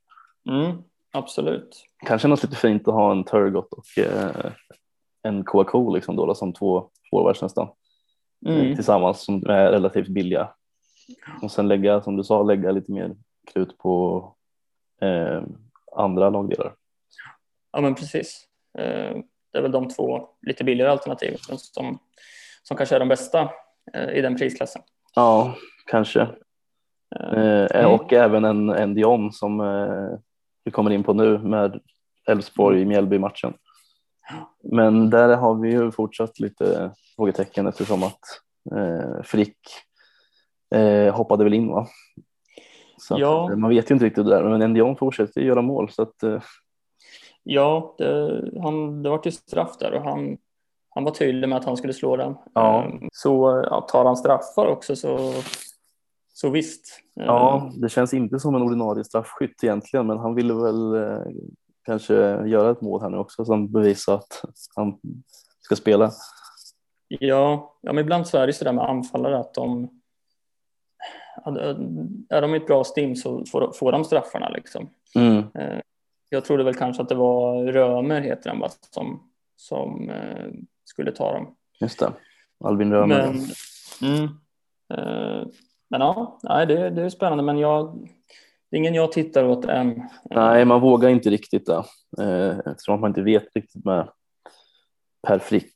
Speaker 3: Mm, absolut.
Speaker 2: Kanske något lite fint att ha en Turgot och eh, en Kouakou liksom då, då, som två forwards nästan eh,
Speaker 3: Mm,
Speaker 2: tillsammans som är relativt billiga. Och sen lägga, som du sa, lägga lite mer krut på eh, andra lagdelar.
Speaker 3: ja, men precis. Eh, Det är väl de två lite billigare alternativen som, som kanske är de bästa eh, i den prisklassen.
Speaker 2: Ja, kanske.
Speaker 3: Eh,
Speaker 2: Eh, och även en, en Dion som eh, vi kommer in på nu med Elfsborg i Mjällby-matchen. Men där har vi ju fortsatt lite frågetecken eftersom att eh, Frick eh, hoppade väl in va? Så att,
Speaker 3: Ja.
Speaker 2: eh, Man vet ju inte riktigt det där, men en Dion fortsätter ju göra mål. Så att, eh,
Speaker 3: Ja, det, han, det var ju straff där och han, han var tydlig med att han skulle slå den.
Speaker 2: Ja.
Speaker 3: Eh, Så ja, tar han straffar också så, så visst. Eh,
Speaker 2: ja, det känns inte som en ordinarie straffskytt egentligen, men han ville väl eh, kanske göra ett mål här nu också som bevisar att han ska spela.
Speaker 3: Ja, ja men ibland så är det sådär med anfallare att de att, eh, är de i ett bra stim så får, får de straffarna liksom.
Speaker 2: Mm.
Speaker 3: Jag trodde väl kanske att det var Römer heter han va, som, som eh, skulle ta dem.
Speaker 2: Just det. Albin Römer.
Speaker 3: Men, mm, eh, men ja, nej, det, det är spännande. Men jag, det är ingen jag tittar åt än.
Speaker 2: Nej, man vågar inte riktigt det. eh, Eftersom man inte vet riktigt med Per Frick.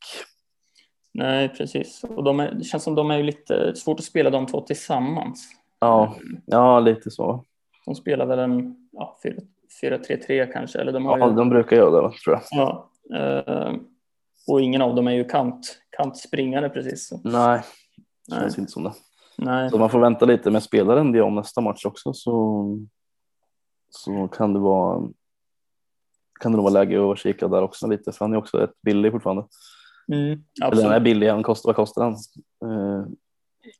Speaker 3: Nej, precis. Och de är, det känns som de är ju lite svårt att spela de två tillsammans.
Speaker 2: Ja, ja lite så.
Speaker 3: De spelar väl en ja, 4-3-3 kanske. Eller de har
Speaker 2: Ja,
Speaker 3: ju,
Speaker 2: de brukar göra det, va, tror jag.
Speaker 3: ja, eh, och ingen av dem är ju kant, kantspringare precis. Så,
Speaker 2: Nej, det
Speaker 3: Nej.
Speaker 2: känns inte som det.
Speaker 3: nej.
Speaker 2: Så man får vänta lite, men spelar en om nästa match också så, så kan det vara kan det nog vara läge att kika där också lite, för han är också rätt billig fortfarande.
Speaker 3: Mm,
Speaker 2: Eller han är
Speaker 3: absolut.
Speaker 2: billig, han kostar, vad kostar han? Eh,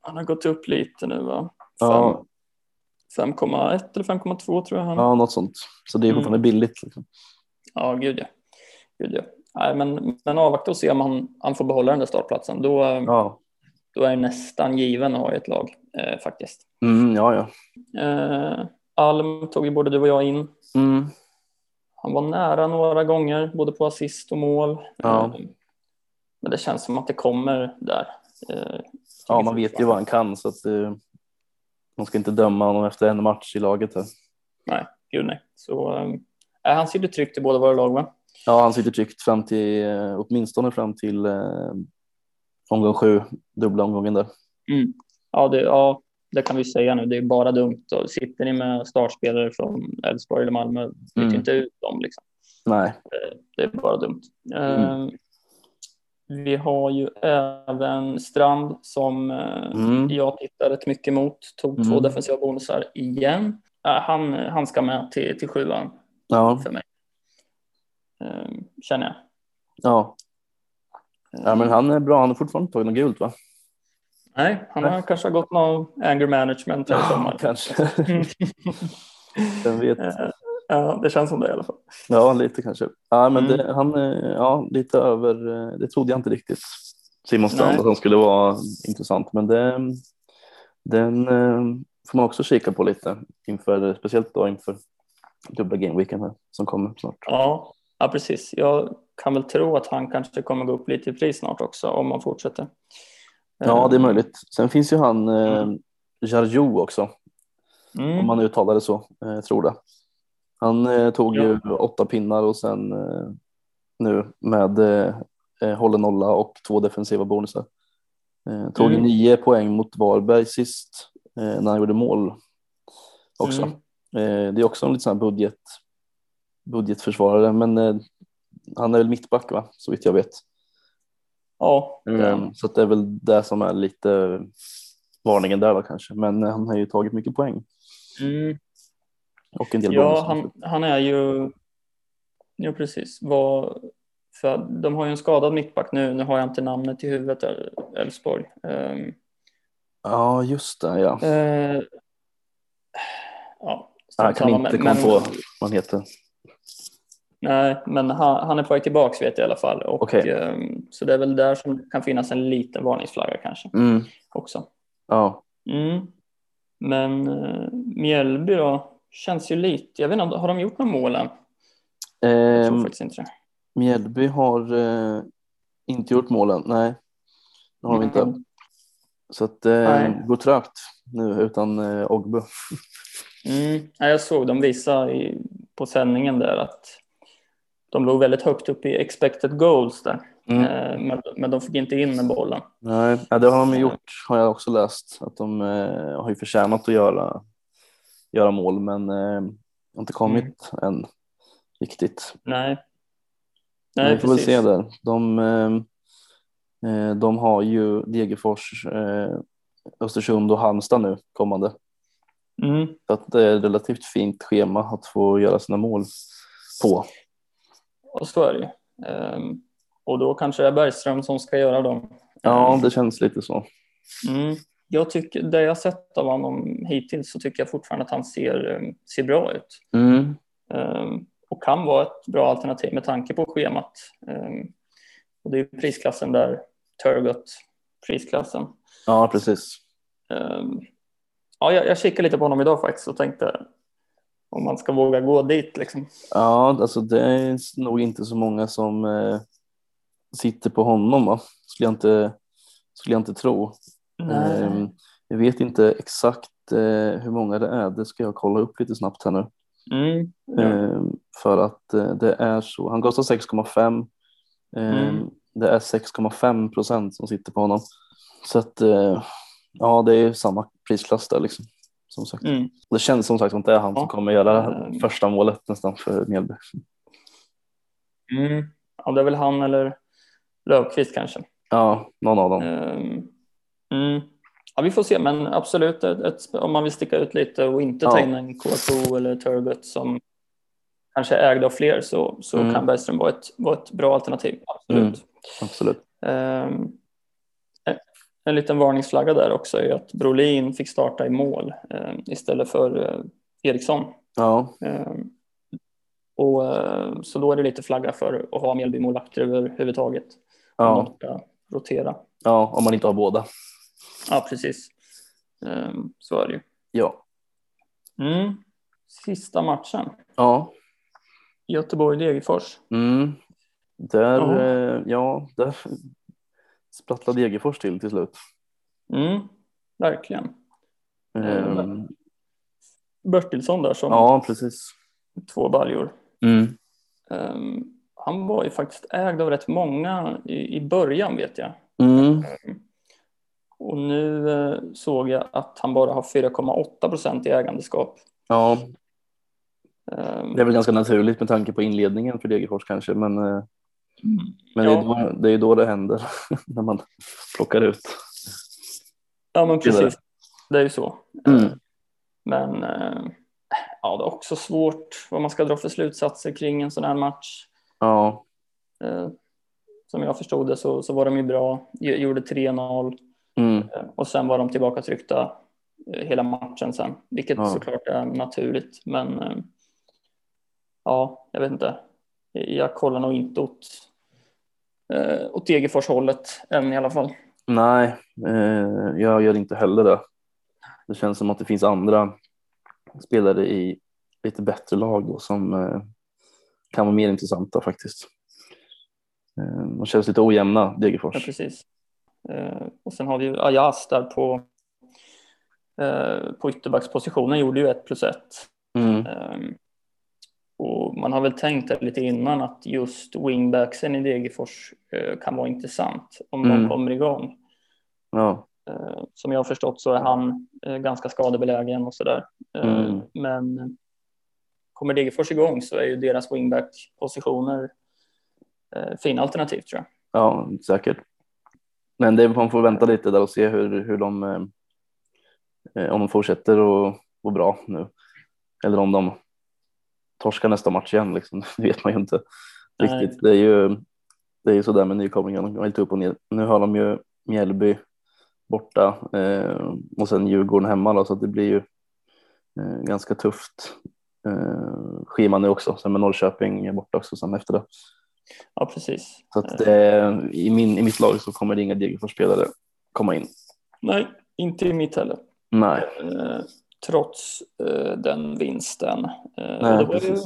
Speaker 3: Han har gått upp lite nu va? Fem-
Speaker 2: ja,
Speaker 3: 5,1 eller 5,2 tror jag han.
Speaker 2: ja, något sånt. Så det är fortfarande billigt. Liksom.
Speaker 3: Ja, gud ja. Gud ja. Nej, men, men avvakta och se om han, han får behålla den där startplatsen. Då, eh,
Speaker 2: Ja.
Speaker 3: då är det nästan given att ha i ett lag eh, faktiskt.
Speaker 2: Mm, ja, ja.
Speaker 3: Eh, Alm tog ju både du och jag in.
Speaker 2: Mm.
Speaker 3: Han var nära några gånger, både på assist och mål.
Speaker 2: Ja.
Speaker 3: Eh, men det känns som att det kommer där. Eh,
Speaker 2: Ja, man vet ju vad han kan så att eh, man ska inte döma honom efter en match i laget. Här.
Speaker 3: Gud, nej. Så, eh, han sitter tryggt i båda våra lag, va?
Speaker 2: Ja, han sitter tryggt fram till eh, åtminstone fram till eh, omgång sju, dubbla omgången där.
Speaker 3: Ja det, ja, det kan vi säga nu. Det är bara dumt. Och sitter ni med startspelare från Elfsborg eller Malmö, byt
Speaker 2: Mm.
Speaker 3: inte ut dem. Liksom.
Speaker 2: Nej,
Speaker 3: Det är bara dumt.
Speaker 2: Mm.
Speaker 3: Eh, vi har ju även Strand som eh,
Speaker 2: Mm.
Speaker 3: jag tittar rätt mycket mot. Tog två
Speaker 2: Mm.
Speaker 3: defensiva bonusar igen. Eh, han, han ska med till, till sjuan,
Speaker 2: ja,
Speaker 3: eh, känner jag.
Speaker 2: ja.
Speaker 3: Eh,
Speaker 2: ja, men han är bra. Han har fortfarande inte tagit något gult, va?
Speaker 3: Nej, han har
Speaker 2: Nej.
Speaker 3: kanske gått någon anger management här i sommar.
Speaker 2: kanske.
Speaker 3: Mm.
Speaker 2: Vem vet?
Speaker 3: Eh, ja, det känns som det i alla fall.
Speaker 2: Ja, lite kanske. Ja, men
Speaker 3: Mm.
Speaker 2: det, han, eh, ja, lite över. eh, Det trodde jag inte riktigt. Simon Strand
Speaker 3: Nej.
Speaker 2: att han skulle vara intressant, men det, den eh, får man också kika på lite inför, speciellt då inför dubbla gameweeken här som kommer snart.
Speaker 3: Ja, ja, precis. Jag kan väl tro att han kanske kommer gå upp lite i pris snart också om han fortsätter. Ehm, Eh,
Speaker 2: Ja, det är möjligt. Sen finns ju han eh, Jarjo också,
Speaker 3: Mm.
Speaker 2: om man uttalar det så, eh, jag tror det. Han eh, tog
Speaker 3: Ja.
Speaker 2: ju åtta pinnar och sen eh, nu med eh, eh, håller nolla och två defensiva bonusar. Eh, tog
Speaker 3: Mm.
Speaker 2: nio poäng mot Varberg sist eh, när han gjorde mål också.
Speaker 3: Mm.
Speaker 2: Eh, det är också en liten sån här budget, budgetförsvarare, men eh, han är väl mittback va, så vitt jag vet.
Speaker 3: Ja, det är
Speaker 2: Eh, Så att det är väl det som är lite varningen där va kanske, men eh, han har ju tagit mycket poäng.
Speaker 3: Mm.
Speaker 2: Och en del
Speaker 3: Ja,
Speaker 2: bonus.
Speaker 3: han, han är ju... Ja, precis. Var född. De har ju en skadad mittback nu. Nu har jag inte namnet i huvudet där, Elfsborg. Ehm,
Speaker 2: ja just det. Ja.
Speaker 3: eh, ja, strunt
Speaker 2: Jag kan
Speaker 3: samma,
Speaker 2: inte
Speaker 3: men-
Speaker 2: komma
Speaker 3: men-
Speaker 2: på vad han heter.
Speaker 3: Nej, men han, han är på väg tillbaka vet jag i alla fall. Och,
Speaker 2: Okej.
Speaker 3: ehm, så det är väl där som kan finnas en liten varningsflagga kanske
Speaker 2: Mm.
Speaker 3: också.
Speaker 2: Ja.
Speaker 3: Mm. Men eh, Mjällby då, känns ju lite... Jag vet inte, har de gjort några mål än? Jag tror
Speaker 2: Ehm,
Speaker 3: faktiskt inte det.
Speaker 2: Mjällby har eh, inte gjort målen. Nej, det har de inte.
Speaker 3: Mm.
Speaker 2: Så att, eh, det
Speaker 3: Nej.
Speaker 2: går trögt nu utan eh, Ogbu.
Speaker 3: Mm. Ja, jag såg de visa i, på sändningen där att de låg väldigt högt upp i expected goals där.
Speaker 2: Mm.
Speaker 3: Eh, men, men de fick inte in bollen.
Speaker 2: Nej, ja, det har de ju gjort har jag också läst. Att de eh, har ju förtjänat att göra, göra mål men eh, har inte kommit än riktigt.
Speaker 3: Nej.
Speaker 2: Men
Speaker 3: Nej,
Speaker 2: vi får väl
Speaker 3: precis.
Speaker 2: se där. De, eh, eh, de har ju Degerfors, eh, Östersund och Halmstad nu kommande.
Speaker 3: Mm.
Speaker 2: Så att det är ett relativt fint schema att få göra sina mål på.
Speaker 3: Och så är det ju. Ehm, och då kanske det är Bergström som ska göra dem.
Speaker 2: Ja,
Speaker 3: Ehm,
Speaker 2: det känns lite så.
Speaker 3: Mm. Jag tycker, det jag sett av honom hittills så tycker jag fortfarande att han ser, ehm, ser bra ut.
Speaker 2: Mm.
Speaker 3: Ehm, och kan vara ett bra alternativ med tanke på schemat. Ehm, och det är ju prisklassen där, Turgot-prisklassen.
Speaker 2: Ja, precis.
Speaker 3: Ehm, ja, jag, jag kikade lite på honom idag faktiskt och tänkte om man ska våga gå dit liksom.
Speaker 2: Ja, alltså det är nog inte så många som eh, sitter på honom, va? Skulle jag inte, skulle jag inte tro. Ehm, jag vet inte exakt eh, hur många det är. Det ska jag kolla upp lite snabbt här nu.
Speaker 3: Mm. Ja.
Speaker 2: Ehm, För att eh, det är så. Han kostar 6,5. Ehm,
Speaker 3: Mm.
Speaker 2: Det är 6,5 procent som sitter på honom. Så att eh, ja, det är samma prisklass där liksom. Som sagt.
Speaker 3: Mm.
Speaker 2: Det känns som sagt som att det är han som
Speaker 3: Ja.
Speaker 2: kommer göra
Speaker 3: Ehm.
Speaker 2: första målet nästan för Mjällby.
Speaker 3: Mm. Ja, det är väl han eller Löfqvist kanske.
Speaker 2: Ja, någon av dem.
Speaker 3: Ehm, Mm. Ja, vi får se, men absolut ett, ett, sp- om man vill sticka ut lite och inte ta
Speaker 2: Ja.
Speaker 3: in en KSO eller Turgut som kanske är ägda av fler så, så
Speaker 2: Mm.
Speaker 3: kan Bergström vara ett, vara ett bra alternativ. Absolut.
Speaker 2: Absolut.
Speaker 3: Ehm, en- en liten varningsflagga där också är att Brolin fick starta i mål ehm, istället för eh, Eriksson.
Speaker 2: Ja,
Speaker 3: Ehm, och, eh, så då är det lite flagga för att ha Mjällbymålvakter överhuvudtaget. Om
Speaker 2: ja,
Speaker 3: de ska rotera.
Speaker 2: ja, om man inte har båda.
Speaker 3: Ja, precis. Ehm, så är det ju.
Speaker 2: Ja,
Speaker 3: Mm. Sista matchen.
Speaker 2: ja.
Speaker 3: Göteborg-Degerfors.
Speaker 2: Mm. Där,
Speaker 3: Ja.
Speaker 2: eh, ja, där sprattlade Degerfors till till slut.
Speaker 3: Mm. Verkligen.
Speaker 2: Ehm,
Speaker 3: Mm. Bertilsson där som
Speaker 2: Ja, precis. Mm.
Speaker 3: två baljor. Ehm, han var ju faktiskt ägd av rätt många i, i början vet jag.
Speaker 2: Mm.
Speaker 3: Och nu eh, såg jag att han bara har 4,8 procent i ägandeskap.
Speaker 2: Ja,
Speaker 3: Ehm,
Speaker 2: det är väl ganska naturligt med tanke på inledningen för Degerfors kanske, men, eh, men det, är
Speaker 3: Ja.
Speaker 2: då, det är ju då det händer, när man plockar ut.
Speaker 3: Ja, men
Speaker 2: Gillar
Speaker 3: precis. Det är ju så. Ehm,
Speaker 2: Mm.
Speaker 3: Men eh, ja, det är också svårt vad man ska dra för slutsatser kring en sån här match.
Speaker 2: Ja,
Speaker 3: Eh, Som jag förstod det så, så var de ju bra, Gj- gjorde 3-0
Speaker 2: mm.
Speaker 3: eh, och sen var de tillbaka tryckta eh, hela matchen sen, vilket
Speaker 2: Ja.
Speaker 3: såklart är naturligt. Men eh, ja, jag vet inte. Jag kollar nog inte åt, eh, åt Degerfors-hållet än i alla fall.
Speaker 2: nej, eh, jag gör inte heller det. Det känns som att det finns andra spelare i lite bättre lag då, som eh, kan vara mer intressanta faktiskt. Eh, de känns lite ojämna,
Speaker 3: Ja,
Speaker 2: Degerfors.
Speaker 3: precis. Eh, och sen har vi ju Ayaz där på, eh, på ytterbackspositionen, gjorde ju ett plus ett.
Speaker 2: Mm.
Speaker 3: Eh, och man har väl tänkt där lite innan att just wingbacksen i Degerfors eh, kan vara intressant om
Speaker 2: Mm.
Speaker 3: de kommer igång.
Speaker 2: Ja,
Speaker 3: Eh, som jag har förstått så är han eh, ganska skadebelägen och sådär. Eh,
Speaker 2: Mm.
Speaker 3: Men kommer Degerfors igång så är ju deras wingback-positioner eh, fina alternativ tror jag.
Speaker 2: ja säkert. Men det, man får vänta lite där och se hur, hur de, eh, om de fortsätter att gå bra nu. Eller om de torska nästa match igen. Liksom. Det vet man ju inte
Speaker 3: Nej.
Speaker 2: riktigt. Det är ju, det är ju sådär med nykomlingen. De går lite upp och ner. Nu har de ju Mjällby borta eh, och sen Djurgården hemma då, så att det blir ju eh, ganska tufft eh, schema nu också. Sen med Norrköping borta också sen efter det.
Speaker 3: Ja, precis.
Speaker 2: Så att det, i, min, i mitt lag så kommer det inga Degerfors-spelare komma in.
Speaker 3: Nej, inte i mitt heller.
Speaker 2: Nej,
Speaker 3: Eh, trots eh, den vinsten. Eh,
Speaker 2: Nej,
Speaker 3: det, var ju,
Speaker 2: precis.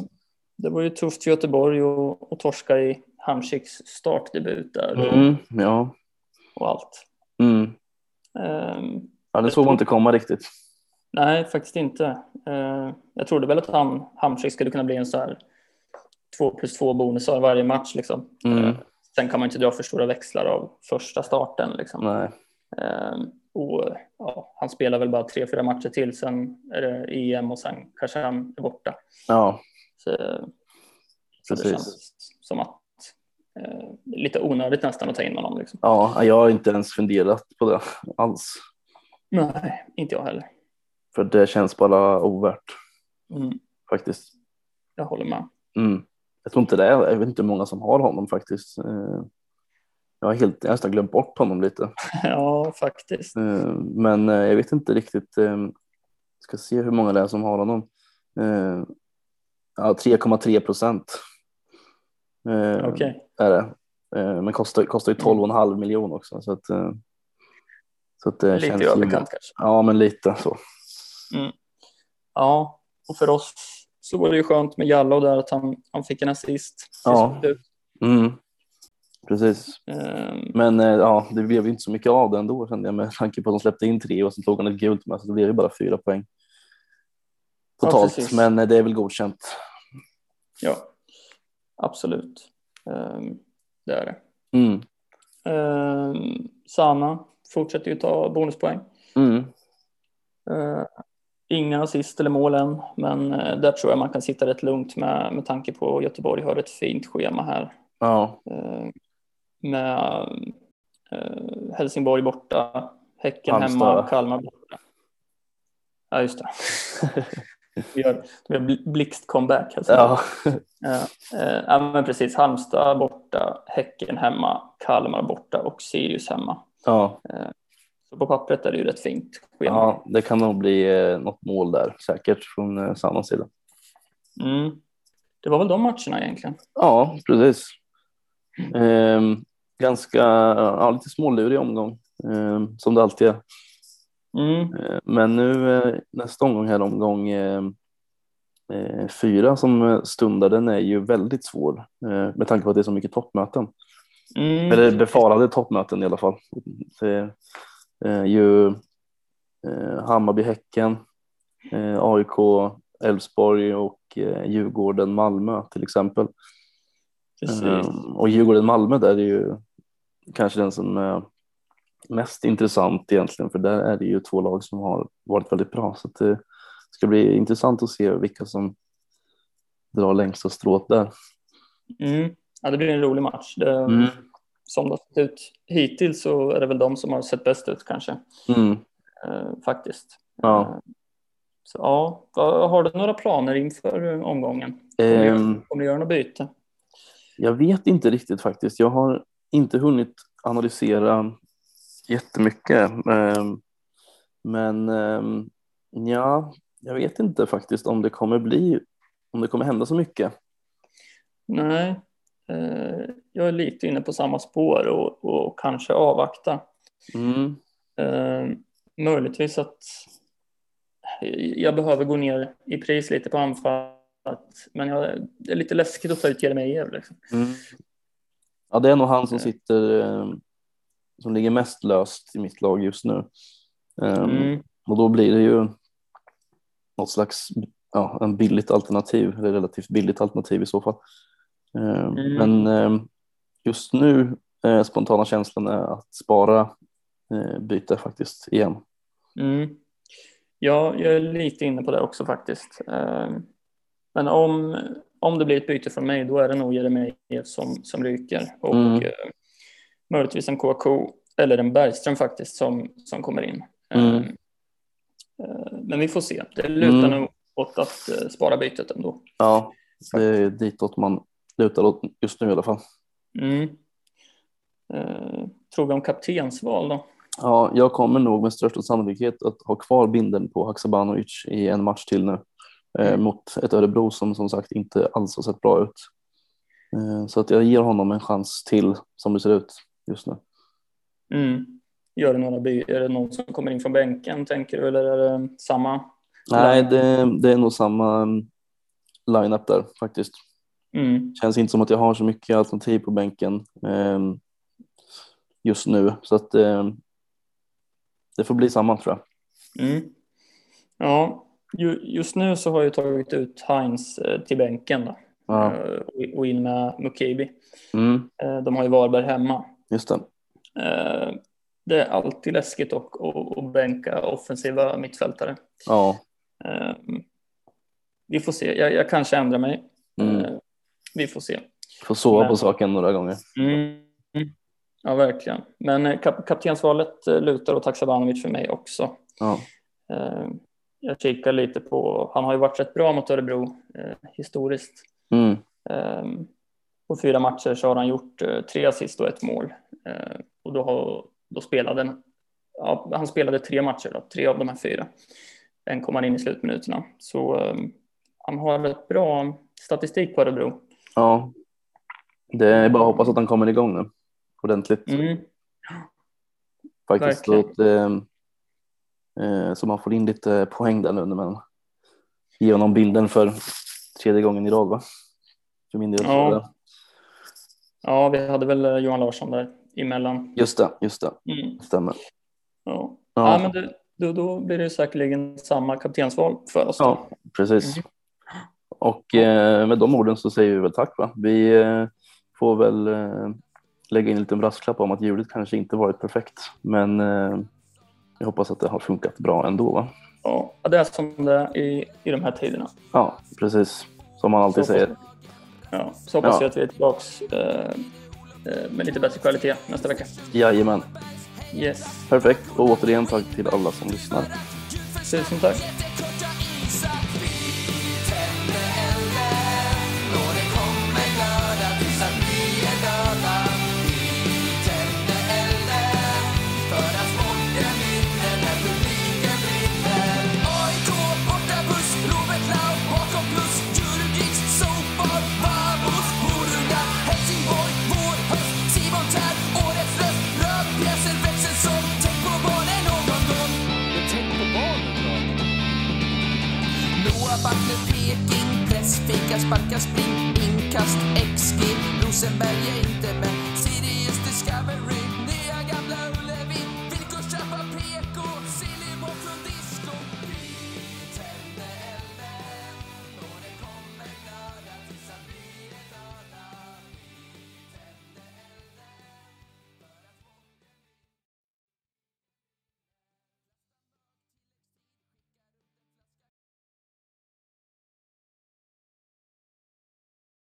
Speaker 3: det var ju tufft för Göteborg och, och torska i Hamsiks startdebut där
Speaker 2: mm, ja.
Speaker 3: och allt.
Speaker 2: Mm.
Speaker 3: Eh,
Speaker 2: ja, det såg man inte komma riktigt.
Speaker 3: nej, faktiskt inte. Eh, jag trodde väl att han, Hamsik skulle kunna bli en så här 2 plus 2 bonusar varje match. Liksom.
Speaker 2: Mm.
Speaker 3: Sen kan man inte dra för stora växlar av första starten. Liksom.
Speaker 2: Nej,
Speaker 3: Ehm, och ja, han spelar väl bara tre, fyra matcher till, sen är det EM och sen kanske han är borta.
Speaker 2: ja,
Speaker 3: Så, så det
Speaker 2: Precis.
Speaker 3: känns som att eh, lite onödigt nästan att ta in honom. Liksom.
Speaker 2: ja, jag har inte ens funderat på det alls.
Speaker 3: Nej, inte jag heller.
Speaker 2: För det känns bara ovärt
Speaker 3: Mm,
Speaker 2: faktiskt.
Speaker 3: jag håller med.
Speaker 2: Mm. Jag tror inte det är, jag vet inte hur många som har honom faktiskt. Eh, Jag har helt, jag har nästan glömt bort honom lite.
Speaker 3: ja, faktiskt.
Speaker 2: Eh, Men eh, jag vet inte riktigt. eh, Ska se hur många det är som har honom. Eh, Ja, 3,3 procent. eh,
Speaker 3: Okej.
Speaker 2: Är det. Eh, Men kostar, kostar ju 12,5 miljoner också. Så att, eh, så att det
Speaker 3: Lite
Speaker 2: känns
Speaker 3: i
Speaker 2: ju-
Speaker 3: överkant kanske.
Speaker 2: Ja, men lite så.
Speaker 3: Ja, och för oss så var det ju skönt med Jallow där att han, han fick en assist.
Speaker 2: Ja. Mm. Precis.
Speaker 3: Ehm,
Speaker 2: Men eh, ja, det blev ju inte så mycket av det ändå kände jag med tanke på att de släppte in tre och sen tog han ett gult med så det blev ju bara fyra poäng.
Speaker 3: Ja,
Speaker 2: Totalt,
Speaker 3: precis.
Speaker 2: men eh, det är väl godkänt.
Speaker 3: ja, absolut. Ehm, det är det.
Speaker 2: Mm.
Speaker 3: Eh, Sana fortsätter ju ta bonuspoäng.
Speaker 2: Mm.
Speaker 3: Eh, inga assist eller mål än, men eh, där tror jag man kan sitta rätt lugnt med, med tanke på att Göteborg har ett fint schema här.
Speaker 2: Ja,
Speaker 3: Eh, med eh, Helsingborg borta, Häcken
Speaker 2: Halmstad.
Speaker 3: hemma, Kalmar borta. Ja, just det. vi gör, vi gör bl- blixt-comeback. Helsingborg.
Speaker 2: ja.
Speaker 3: Eh, ja, men precis. Halmstad borta, Häcken hemma, Kalmar borta och Sirius hemma.
Speaker 2: ja.
Speaker 3: Så på pappret är det ju rätt fint schema.
Speaker 2: ja det kan nog bli eh, något mål där säkert från eh, Sannas sida.
Speaker 3: Mm. Det var väl de matcherna egentligen.
Speaker 2: Ja, precis. Ehm, ganska, ja, lite smålurig omgång ehm, som det alltid är.
Speaker 3: Mm.
Speaker 2: Eh, Men nu eh, nästa omgång här, omgång eh, eh, fyra som eh, stundar, den är ju väldigt svår eh, med tanke på att det är så mycket toppmöten.
Speaker 3: Mm.
Speaker 2: Eller befarade toppmöten i alla fall. Det är ju eh, Hammarby-Häcken, eh, AIK, Elfsborg och eh, Djurgården-Malmö till exempel.
Speaker 3: Precis.
Speaker 2: Eh, och Djurgården-Malmö där är ju kanske den som är mest intressant egentligen för där är det ju två lag som har varit väldigt bra så att eh, det ska bli intressant att se vilka som drar längsta strået där.
Speaker 3: Mm. Ja, det blir en rolig match. Det,
Speaker 2: Mm.
Speaker 3: Som det har sett ut hittills så är det väl de som har sett bäst ut kanske.
Speaker 2: Mm.
Speaker 3: Eh, faktiskt.
Speaker 2: Ja.
Speaker 3: Eh, Så, ja. Vad- Har du några planer inför eh, omgången? Kommer,
Speaker 2: Ehm,
Speaker 3: du, kommer du göra något byte?
Speaker 2: jag vet inte riktigt faktiskt. Jag har inte hunnit analysera jättemycket. ehm, Men ehm, ja, jag vet inte faktiskt om det kommer bli, om det kommer hända så mycket.
Speaker 3: Nej. Eh, jag är lite inne på samma spår och, och kanske avvakta.
Speaker 2: Mm.
Speaker 3: Eh, möjligtvis att jag behöver gå ner i pris lite på anfall. Men jag, det är lite läskigt att ta ut Jeremejeff. Liksom.
Speaker 2: Ja, det är nog han som
Speaker 3: Eh.
Speaker 2: sitter eh, som ligger mest löst i mitt lag just nu. Ehm,
Speaker 3: Mm.
Speaker 2: Och då blir det ju något slags ja, en billigt alternativ, eller relativt billigt alternativ i så fall. Ehm,
Speaker 3: Mm.
Speaker 2: Men ehm, just nu, eh, spontana känslan är att spara eh, byte faktiskt igen.
Speaker 3: Mm. Ja, jag är lite inne på det också faktiskt. Eh, men om, om det blir ett byte från mig, då är det nog Jeremejeff som, som ryker. Och
Speaker 2: Mm.
Speaker 3: eh, möjligtvis en KK eller en Bergström faktiskt som, som kommer in.
Speaker 2: Mm.
Speaker 3: Eh, eh, men vi får se. Det lutar
Speaker 2: Mm.
Speaker 3: nog åt att eh, spara bytet ändå.
Speaker 2: Ja, Det är ditåt man lutar åt just nu i alla fall.
Speaker 3: Mm. Eh, tror vi om kaptensval då?
Speaker 2: Ja, jag kommer nog med största sannolikhet att ha kvar binden på Haksabanovic i en match till nu eh,
Speaker 3: Mm.
Speaker 2: mot ett Örebro som som sagt inte alls har sett bra ut. Eh, så att jag ger honom en chans till som det ser ut just nu.
Speaker 3: Mm. Gör det några by- är det någon som kommer in från bänken tänker du eller är det samma?
Speaker 2: Nej, det, det är nog samma mm, line-up där faktiskt.
Speaker 3: Mm.
Speaker 2: Känns inte som att jag har så mycket alternativ på bänken eh, just nu så att eh, det får bli samma tror jag.
Speaker 3: Mm. Ja, ju, just nu så har jag tagit ut Heinz eh, till bänken då,
Speaker 2: Ja.
Speaker 3: Eh, och- och in med Mukibi.
Speaker 2: Mm,
Speaker 3: Eh, De har ju Varberg hemma.
Speaker 2: just det.
Speaker 3: Eh, Det är alltid läskigt att, att, att bänka offensiva mittfältare.
Speaker 2: Ja.
Speaker 3: Eh, Vi får se. Jag, jag kanske ändrar mig.
Speaker 2: Mm.
Speaker 3: Eh, Vi får se.
Speaker 2: Får sova på
Speaker 3: Men-
Speaker 2: saken några gånger.
Speaker 3: Mm. Ja, verkligen. Men eh, kap kaptensvalet eh, lutar åt Haksabanovic för mig också.
Speaker 2: Ja.
Speaker 3: Eh, Jag kikar lite på, han har ju varit rätt bra mot Örebro eh, historiskt.
Speaker 2: Mm.
Speaker 3: Eh, På fyra matcher så har han gjort eh, tre assist och ett mål. Eh, Och då, har, då spelade han, ja, han spelade tre matcher, då, tre av de här fyra. En kom han in i slutminuterna. Så eh, han har rätt bra statistik på Örebro.
Speaker 2: ja. Det är bara att hoppas att han kommer igång nu. Ordentligt
Speaker 3: Mm.
Speaker 2: faktiskt. Så
Speaker 3: verkligen.
Speaker 2: att, eh, eh, så man får in lite poäng där nu när man ger honom bilden för tredje gången i rad va? För min del.
Speaker 3: Ja.
Speaker 2: Ja.
Speaker 3: Ja, vi hade väl eh, Johan Larsson där emellan.
Speaker 2: Just det, just det.
Speaker 3: Mm.
Speaker 2: Stämmer.
Speaker 3: Ja.
Speaker 2: Ja.
Speaker 3: Ja. men det, då, då blir det säkerligen samma kaptensval för oss.
Speaker 2: Ja, precis.
Speaker 3: Mm.
Speaker 2: Och eh, med de orden så säger vi väl tack va? Vi eh, får väl eh, lägga in en liten brasklapp om att ljudet kanske inte varit perfekt. Men eh, jag hoppas att det har funkat bra ändå va?
Speaker 3: Ja, det är som det är i, i de här tiderna.
Speaker 2: Ja, precis. Som man alltid
Speaker 3: Så
Speaker 2: säger.
Speaker 3: Ja, så hoppas
Speaker 2: Ja.
Speaker 3: vi att vi är tillbaka eh, eh, med lite bättre kvalitet nästa vecka.
Speaker 2: Jajamän.
Speaker 3: Yes,
Speaker 2: Perfekt. Och återigen tack till alla som lyssnar.
Speaker 3: tusen tack.
Speaker 1: Jättekorta isar biten med elden Och det kommer glöda tills att vi är döda Biten med elden För att sporten vinner när publiken brinner AIK borta buss, Robert Laul bakom plus Djurgårdens sopor, Babos Borunda Helsingborg, vår höst Simon Tern, årets röst Rödpjäser växer som Tänk på barnen någon gång Noa back med Peking, press, fika, sparka, spring, inkast, XG. Rosenberg är inte med,